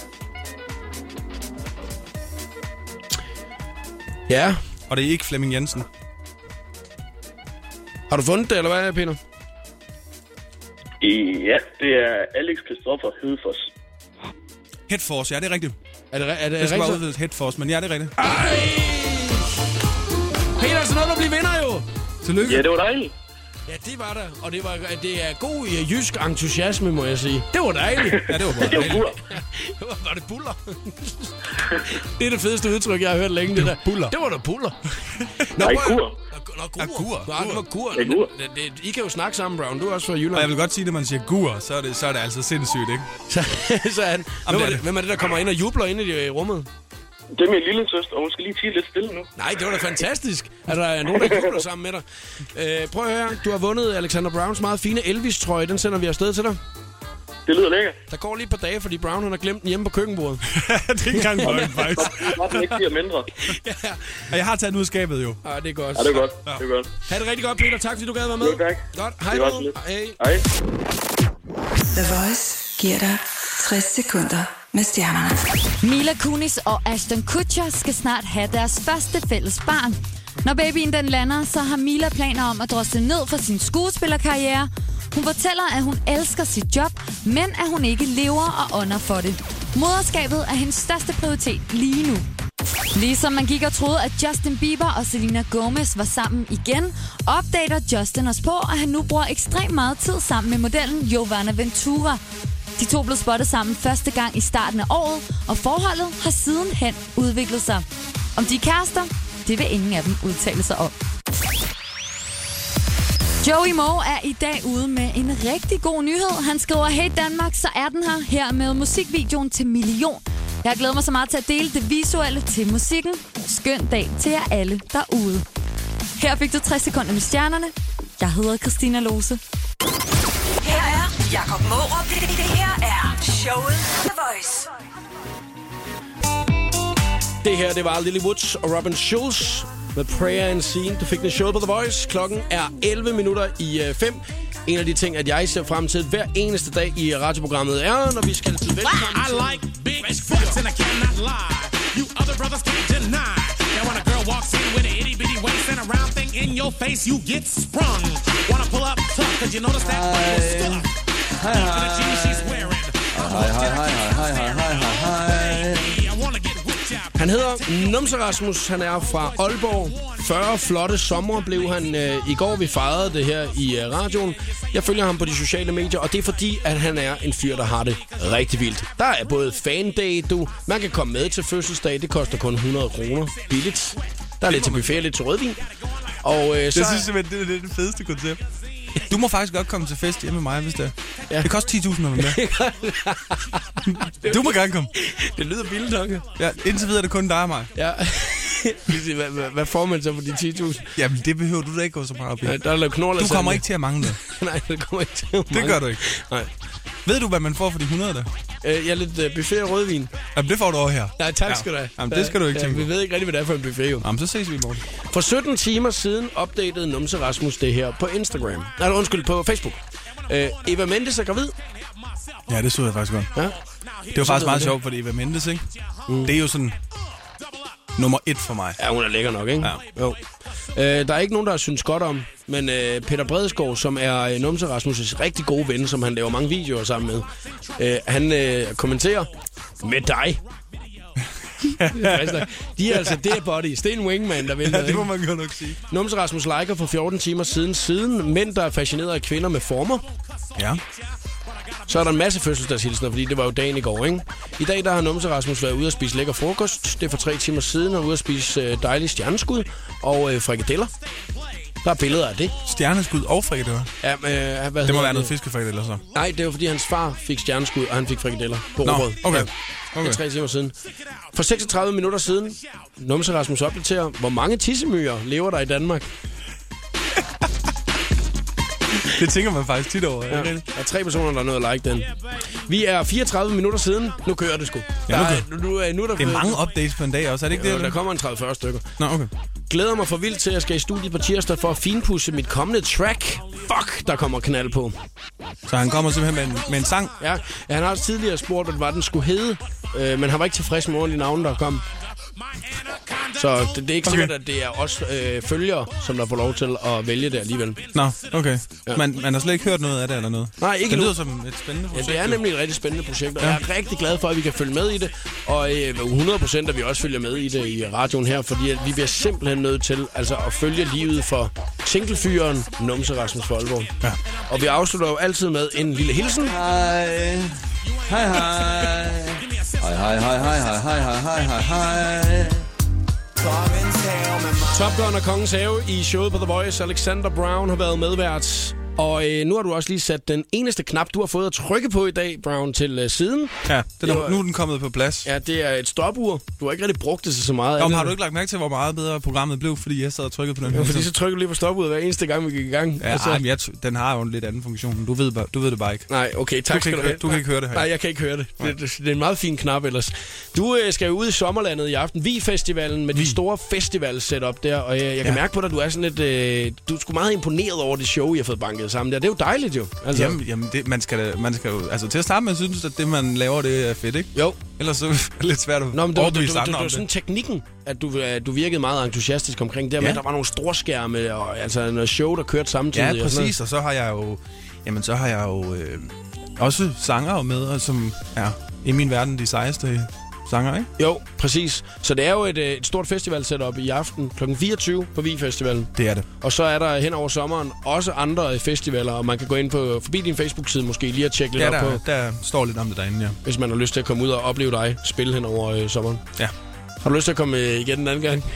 Speaker 1: Ja,
Speaker 2: Og det er ikke Flemming Jensen.
Speaker 1: har du fundet det, eller hvad, Peter?
Speaker 10: Ja, det er Alex Christoffer Hedfors.
Speaker 2: Headforce, ja, det er rigtigt.
Speaker 1: Er det, re- er det,
Speaker 2: Jeg
Speaker 1: er
Speaker 2: skal
Speaker 1: det
Speaker 2: bare
Speaker 1: rigtigt?
Speaker 2: udvide Headforce, men ja, det er rigtigt.
Speaker 1: Peter, så noget at blive vinder, jo!
Speaker 2: Tillykke.
Speaker 10: Ja, det var dejligt.
Speaker 1: Ja, det var der, og det, var, det er god øh, jysk entusiasme, må jeg sige. Det var [laughs] dejligt.
Speaker 2: Ja, det var
Speaker 10: Det var
Speaker 2: godt.
Speaker 10: gutter.
Speaker 1: var det buller? det er det fedeste udtryk, jeg har hørt længe, det, der.
Speaker 2: buller.
Speaker 1: Det var da buller. Nå,
Speaker 10: Nej,
Speaker 1: prøv at-
Speaker 10: kur.
Speaker 1: Nå, gur.
Speaker 2: Ja, gur.
Speaker 1: Nå, det var gur.
Speaker 10: Ja, gur.
Speaker 1: Det- det- I kan jo snakke sammen, Brown. Du er også fra
Speaker 2: Og jeg
Speaker 1: Jylland.
Speaker 2: vil godt sige, at når man siger gur, så er det, så er det altså sindssygt, ikke?
Speaker 1: Så, [laughs] så er han, hvem,
Speaker 2: det
Speaker 1: er
Speaker 2: er
Speaker 1: det,
Speaker 2: det.
Speaker 1: hvem er det, der kommer ind og jubler ind i øh, rummet?
Speaker 10: Det er min lille søster, og hun skal lige tige lidt stille nu.
Speaker 1: Nej, det var da fantastisk, at der er nogen, der jubler sammen med dig. Øh, prøv at høre, du har vundet Alexander Browns meget fine Elvis-trøje. Den sender vi afsted til dig.
Speaker 10: Det lyder lækkert.
Speaker 1: Der går lige et par dage, fordi Brown han har glemt den hjemme på køkkenbordet.
Speaker 2: [laughs] det er ikke engang løgn, faktisk.
Speaker 10: Bare den ikke bliver mindre.
Speaker 2: Og jeg har taget den ud af skabet, jo.
Speaker 1: Ah, det er godt.
Speaker 10: Ja, det er godt. Det er godt.
Speaker 1: Ha' det rigtig godt, Peter. Tak, fordi du gad at være med.
Speaker 10: Jo, tak.
Speaker 1: Godt. Hej,
Speaker 10: Det var
Speaker 1: du.
Speaker 10: så lidt.
Speaker 1: Hej.
Speaker 10: Hej.
Speaker 3: The Voice giver dig 60 sekunder med stjernerne.
Speaker 7: Mila Kunis og Ashton Kutcher skal snart have deres første fælles barn. Når babyen den lander, så har Mila planer om at drosle ned for sin skuespillerkarriere. Hun fortæller, at hun elsker sit job, men at hun ikke lever og ånder for det. Moderskabet er hendes største prioritet lige nu. Ligesom man gik og troede, at Justin Bieber og Selena Gomez var sammen igen, opdater Justin os på, at han nu bruger ekstremt meget tid sammen med modellen Giovanna Ventura. De to blev spottet sammen første gang i starten af året, og forholdet har sidenhen udviklet sig. Om de er kærester, det vil ingen af dem udtale sig om. Joey Moe er i dag ude med en rigtig god nyhed. Han skriver, hey Danmark, så er den her, her med musikvideoen til Million. Jeg glæder mig så meget til at dele det visuelle til musikken. Skøn dag til jer alle derude. Her fik du 60 sekunder med stjernerne. Jeg hedder Christina Lose.
Speaker 9: Her er Jakob Morup. Det, det, det her er showet på The Voice.
Speaker 1: Det her, det var Lily Woods og Robin Schulz med Prayer and Scene. Du fik den show på The Voice. Klokken er 11 minutter i 5. En af de ting, at jeg ser frem til hver eneste dag i radioprogrammet er, når vi skal til velkommen til...
Speaker 12: I like big butts and I cannot lie. You other brothers can't deny that when a girl walks in with an itty bitty waist and a round thing in your face, you get sprung. Wanna pull up tough, cause you notice that butt was stuck. Look at the jeans she's wearing.
Speaker 5: Hej, hej, hej, hej, hej, hej, hej, hej, hej.
Speaker 12: I wanna get whipped out.
Speaker 1: Han hedder Numse Rasmus. Han er fra Aalborg. 40 flotte sommer blev han øh, i går. Vi fejrede det her i øh, radioen. Jeg følger ham på de sociale medier, og det er fordi, at han er en fyr, der har det rigtig vildt. Der er både fandag, du. Man kan komme med til fødselsdag. Det koster kun 100 kroner. Billigt. Der er lidt til buffet og lidt til rødvin. Og øh, så...
Speaker 2: Jeg synes simpelthen, det er- det er det fedeste koncept. Du må faktisk godt komme til fest hjemme med mig, hvis det er.
Speaker 1: Ja.
Speaker 2: Ja. Det koster 10.000 om med. du må gerne komme.
Speaker 1: det lyder vildt nok.
Speaker 2: Ja, indtil videre er det kun dig og mig.
Speaker 1: Ja. Lige se, hvad, hvad, hvad får man så for de 10.000?
Speaker 2: Jamen, det behøver du da ikke gå så meget op i.
Speaker 1: Nej, Der er lavet knold og
Speaker 2: Du kommer
Speaker 1: sandwich.
Speaker 2: ikke til at mangle noget.
Speaker 1: [laughs] Nej, det kommer ikke til at
Speaker 2: Det
Speaker 1: mangle.
Speaker 2: gør du ikke.
Speaker 1: Nej.
Speaker 2: Ved du, hvad man får for de 100 der?
Speaker 1: Øh, jeg er lidt øh, buffet og rødvin.
Speaker 2: Jamen, det får du over her.
Speaker 1: Nej, tak
Speaker 2: Ja.
Speaker 1: skal du have.
Speaker 2: Jamen, det skal du ikke
Speaker 1: ja,
Speaker 2: tænke
Speaker 1: Vi
Speaker 2: på.
Speaker 1: ved ikke rigtig, hvad det er for en buffet, jo.
Speaker 2: Jamen, så ses vi i morgen.
Speaker 1: For 17 timer siden opdaterede Numse Rasmus det her på Instagram. Nej, undskyld, på Facebook. Øh, Eva Mendes er gravid.
Speaker 2: Ja, det så jeg faktisk godt.
Speaker 1: Ja.
Speaker 2: Det var faktisk meget sjovt, fordi Eva Mendes, ikke? Mm. Det er jo sådan nummer et for mig.
Speaker 1: Ja, hun er lækker nok, ikke? Ja. Jo. Øh, der er ikke nogen, der har synes godt om, men øh, Peter Bredeskov, som er øh, Numse Rasmus' rigtig gode ven, som han laver mange videoer sammen med, øh, han øh, kommenterer, med
Speaker 2: [laughs]
Speaker 1: dig. Hashtag. De er altså dead buddies. Det er en wingman, der vil
Speaker 2: Ja, det må man godt nok sige.
Speaker 1: Numse Rasmus liker for 14 timer siden siden mænd, der er fascineret af kvinder med former.
Speaker 2: Ja.
Speaker 1: Så er der en masse fødselsdagshilsener, fordi det var jo dagen i går, ikke? I dag der har Numse Rasmus været ude at spise lækker frokost. Det er for tre timer siden, og ude at spise øh, dejlige stjerneskud og øh, frikadeller. Der er billeder af det.
Speaker 2: Stjerneskud og frikadeller?
Speaker 1: Ja, men, øh, hvad
Speaker 2: Det
Speaker 1: hedder
Speaker 2: må være noget fiskefrikadeller så.
Speaker 1: Nej, det var fordi hans far fik stjerneskud, og han fik frikadeller på
Speaker 2: Nå,
Speaker 1: robrød.
Speaker 2: okay.
Speaker 1: Ja, Det er
Speaker 2: Okay.
Speaker 1: tre timer siden. For 36 minutter siden, Numse Rasmus opdaterer, hvor mange tissemyrer lever der i Danmark.
Speaker 2: Det tænker man faktisk tit over.
Speaker 1: Ja. Der er tre personer, der er nået at like den. Vi er 34 minutter siden. Nu kører det sgu.
Speaker 2: Ja, nu
Speaker 1: Der er-
Speaker 2: kører-
Speaker 1: nu, nu, er- nu er der
Speaker 2: Det er mange updates på en dag også, er det ikke
Speaker 1: Ja,
Speaker 2: det?
Speaker 1: der kommer en 30-40 stykker.
Speaker 2: Nå, okay.
Speaker 1: Glæder mig for vildt til, at jeg skal i studiet på tirsdag for at finpudse mit kommende track. Fuck, der kommer knald på.
Speaker 2: Så han kommer simpelthen med en, med en sang?
Speaker 1: Ja, han har også tidligere spurgt, hvad det var, den skulle hedde, øh, men han var ikke tilfreds med ordentlige navne, der kom. Så det, det er ikke okay.
Speaker 2: Okay.
Speaker 1: sikkert, at det er os øh, følgere, som der får lov til at vælge det alligevel.
Speaker 2: Nå, okay.
Speaker 1: Ja.
Speaker 2: Man, man har slet ikke hørt noget af det eller noget?
Speaker 1: Nej, ikke
Speaker 2: Det
Speaker 1: nu.
Speaker 2: lyder som et spændende projekt.
Speaker 1: Ja, det er
Speaker 2: jo.
Speaker 1: nemlig et rigtig spændende projekt, og ja. jeg er rigtig glad for, at vi kan følge med i det. Og øh, 100% at vi også følger med i det i radioen her, fordi at vi bliver simpelthen nødt til altså, at følge livet for singlefyren Numse Rasmus Folborg. Ja. Og vi afslutter jo altid med en lille hilsen. Hej. Hej, hej.
Speaker 5: Hej, hej, hej, hej, hej, hej, hej, hej, hej, hej.
Speaker 1: Top Gun og Kongens Have i showet på The Voice. Alexander Brown har været medvært. Og øh, nu har du også lige sat den eneste knap, du har fået at trykke på i dag, Brown, til øh, siden.
Speaker 2: Ja, den er,
Speaker 1: Det var-
Speaker 2: nu er den kommet på plads.
Speaker 1: Ja, det er et stopur. Du har ikke rigtig brugt det til så meget.
Speaker 2: Nå, men
Speaker 1: andet.
Speaker 2: har du ikke lagt mærke til, hvor meget bedre programmet blev, fordi jeg sad og trykkede på den
Speaker 1: Ja,
Speaker 2: her?
Speaker 1: fordi så trykker du lige på stopuret hver eneste gang, vi gik i gang.
Speaker 2: Ja, altså... ej, men jeg t- den har jo en lidt anden funktion. Du ved, bare- du ved det bare ikke.
Speaker 1: Nej, okay, tak
Speaker 2: du kan
Speaker 1: skal
Speaker 2: ikke,
Speaker 1: du
Speaker 2: høre-
Speaker 1: have.
Speaker 2: Du kan ikke høre det her.
Speaker 1: Nej, jeg kan ikke høre det. Det, det, det er en meget fin knap ellers. Du øh, skal jo ud i sommerlandet i aften. Vi-festivalen med dit store festival-setup der. Og øh, jeg kan
Speaker 2: Mm. Ja.
Speaker 1: mærke på dig, at du er sådan lidt... Øh, du er sgu meget imponeret over det show, I har fået banket sammen der. Det er jo dejligt jo.
Speaker 2: Altså... Jamen, jamen det, man, skal, da- man skal jo... Altså, til at starte med, synes at det, man laver, det er fedt, ikke?
Speaker 1: Jo.
Speaker 2: Ellers så [laughs] er det lidt svært at
Speaker 1: Nå, men det, var- det,
Speaker 2: overbevise
Speaker 1: det, det, det
Speaker 2: andre
Speaker 1: var
Speaker 2: om
Speaker 1: sådan
Speaker 2: det.
Speaker 1: teknikken, at du, øh, du virkede meget entusiastisk omkring det. Ja. Men
Speaker 2: Ja.
Speaker 1: der var nogle storskærme og altså noget show, der kørte samtidig.
Speaker 2: Ja,
Speaker 1: Og sådan noget.
Speaker 2: præcis. Og så har jeg jo... Jamen, så har jeg jo øh, også sanger med, og som er i min verden de sejeste sanger, ikke?
Speaker 1: Jo, præcis. Så det er jo et, øh, et stort festival setup i aften kl. 24 på Vig-festivalen.
Speaker 2: Det er det.
Speaker 1: Og så er der hen over sommeren også andre øh, festivaler, og man kan gå ind på forbi din Facebook-side måske lige og tjekke lidt
Speaker 2: Ja,
Speaker 1: op
Speaker 2: der,
Speaker 1: på,
Speaker 2: der står lidt om det derinde, ja.
Speaker 1: hvis man har lyst til at komme ud og opleve dig spille hen over øh, sommeren.
Speaker 2: Ja.
Speaker 1: Har du lyst til at komme øh, igen en anden gang? [laughs]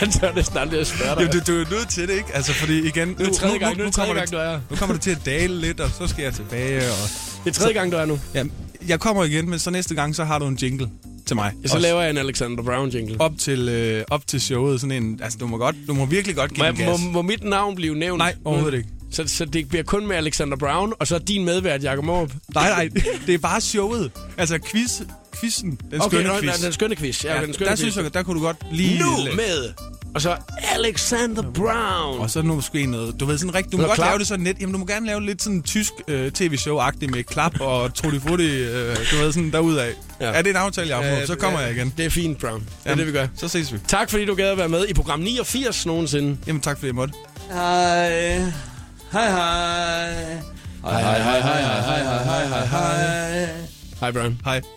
Speaker 1: Jeg tør næsten aldrig at spørge dig.
Speaker 2: Jamen, du, du er jo nødt til det, ikke? Altså, fordi igen... Nu,
Speaker 1: tredje gang, nu er det tredje
Speaker 2: kommer
Speaker 1: gang,
Speaker 2: det,
Speaker 1: du er her.
Speaker 2: [laughs] Nu kommer det til at dale lidt, og så skal jeg tilbage, og...
Speaker 1: Det er tredje gang, du er nu.
Speaker 2: Ja, jeg kommer igen, men så næste gang, så har du en jingle til mig.
Speaker 1: Ja, så
Speaker 2: Også
Speaker 1: laver jeg en Alexander Brown jingle.
Speaker 2: op til, øh, op til showet, sådan en... Altså, du må, godt, du må virkelig godt give
Speaker 1: Må,
Speaker 2: den
Speaker 1: jeg- må,
Speaker 2: gas.
Speaker 1: må mit navn blive nævnt?
Speaker 2: Nej, overhovedet
Speaker 1: Mm.
Speaker 2: ikke.
Speaker 1: Så, så det bliver kun med Alexander Brown, og så din medvært, Jakob Morup?
Speaker 2: Nej, nej, det er bare showet. Altså, quiz, quizzen, den
Speaker 1: okay,
Speaker 2: skønne
Speaker 1: nå,
Speaker 2: quiz.
Speaker 1: nej, den skønne quiz. Ja, okay, den skønne
Speaker 2: der
Speaker 1: quiz.
Speaker 2: synes jeg, der kunne du godt lige...
Speaker 1: Nu med, og så Alexander Brown.
Speaker 2: Og så nu måske noget, du ved sådan rigtigt, du må
Speaker 1: Noget
Speaker 2: godt
Speaker 1: klap.
Speaker 2: lave det sådan lidt, jamen du må gerne lave lidt sådan tysk øh, tv-show-agtigt med klap og trullifutti, øh, du ved sådan derudad.
Speaker 1: Ja.
Speaker 2: Ja. Er det en aftale, jeg har
Speaker 1: Ja,
Speaker 2: fået? Så kommer
Speaker 1: ja,
Speaker 2: jeg igen.
Speaker 1: Det er fint, Brown. Det er
Speaker 2: Jamen,
Speaker 1: det, vi gør.
Speaker 2: Så ses vi.
Speaker 1: Tak fordi du gad at være med i program 89 nogensinde.
Speaker 2: Jamen tak fordi jeg måtte.
Speaker 5: Hej. Hej, hej. Hej, hej, hej, hej, hej, hej, hej, hej, hej.
Speaker 1: Hej, Brown.
Speaker 2: Hej.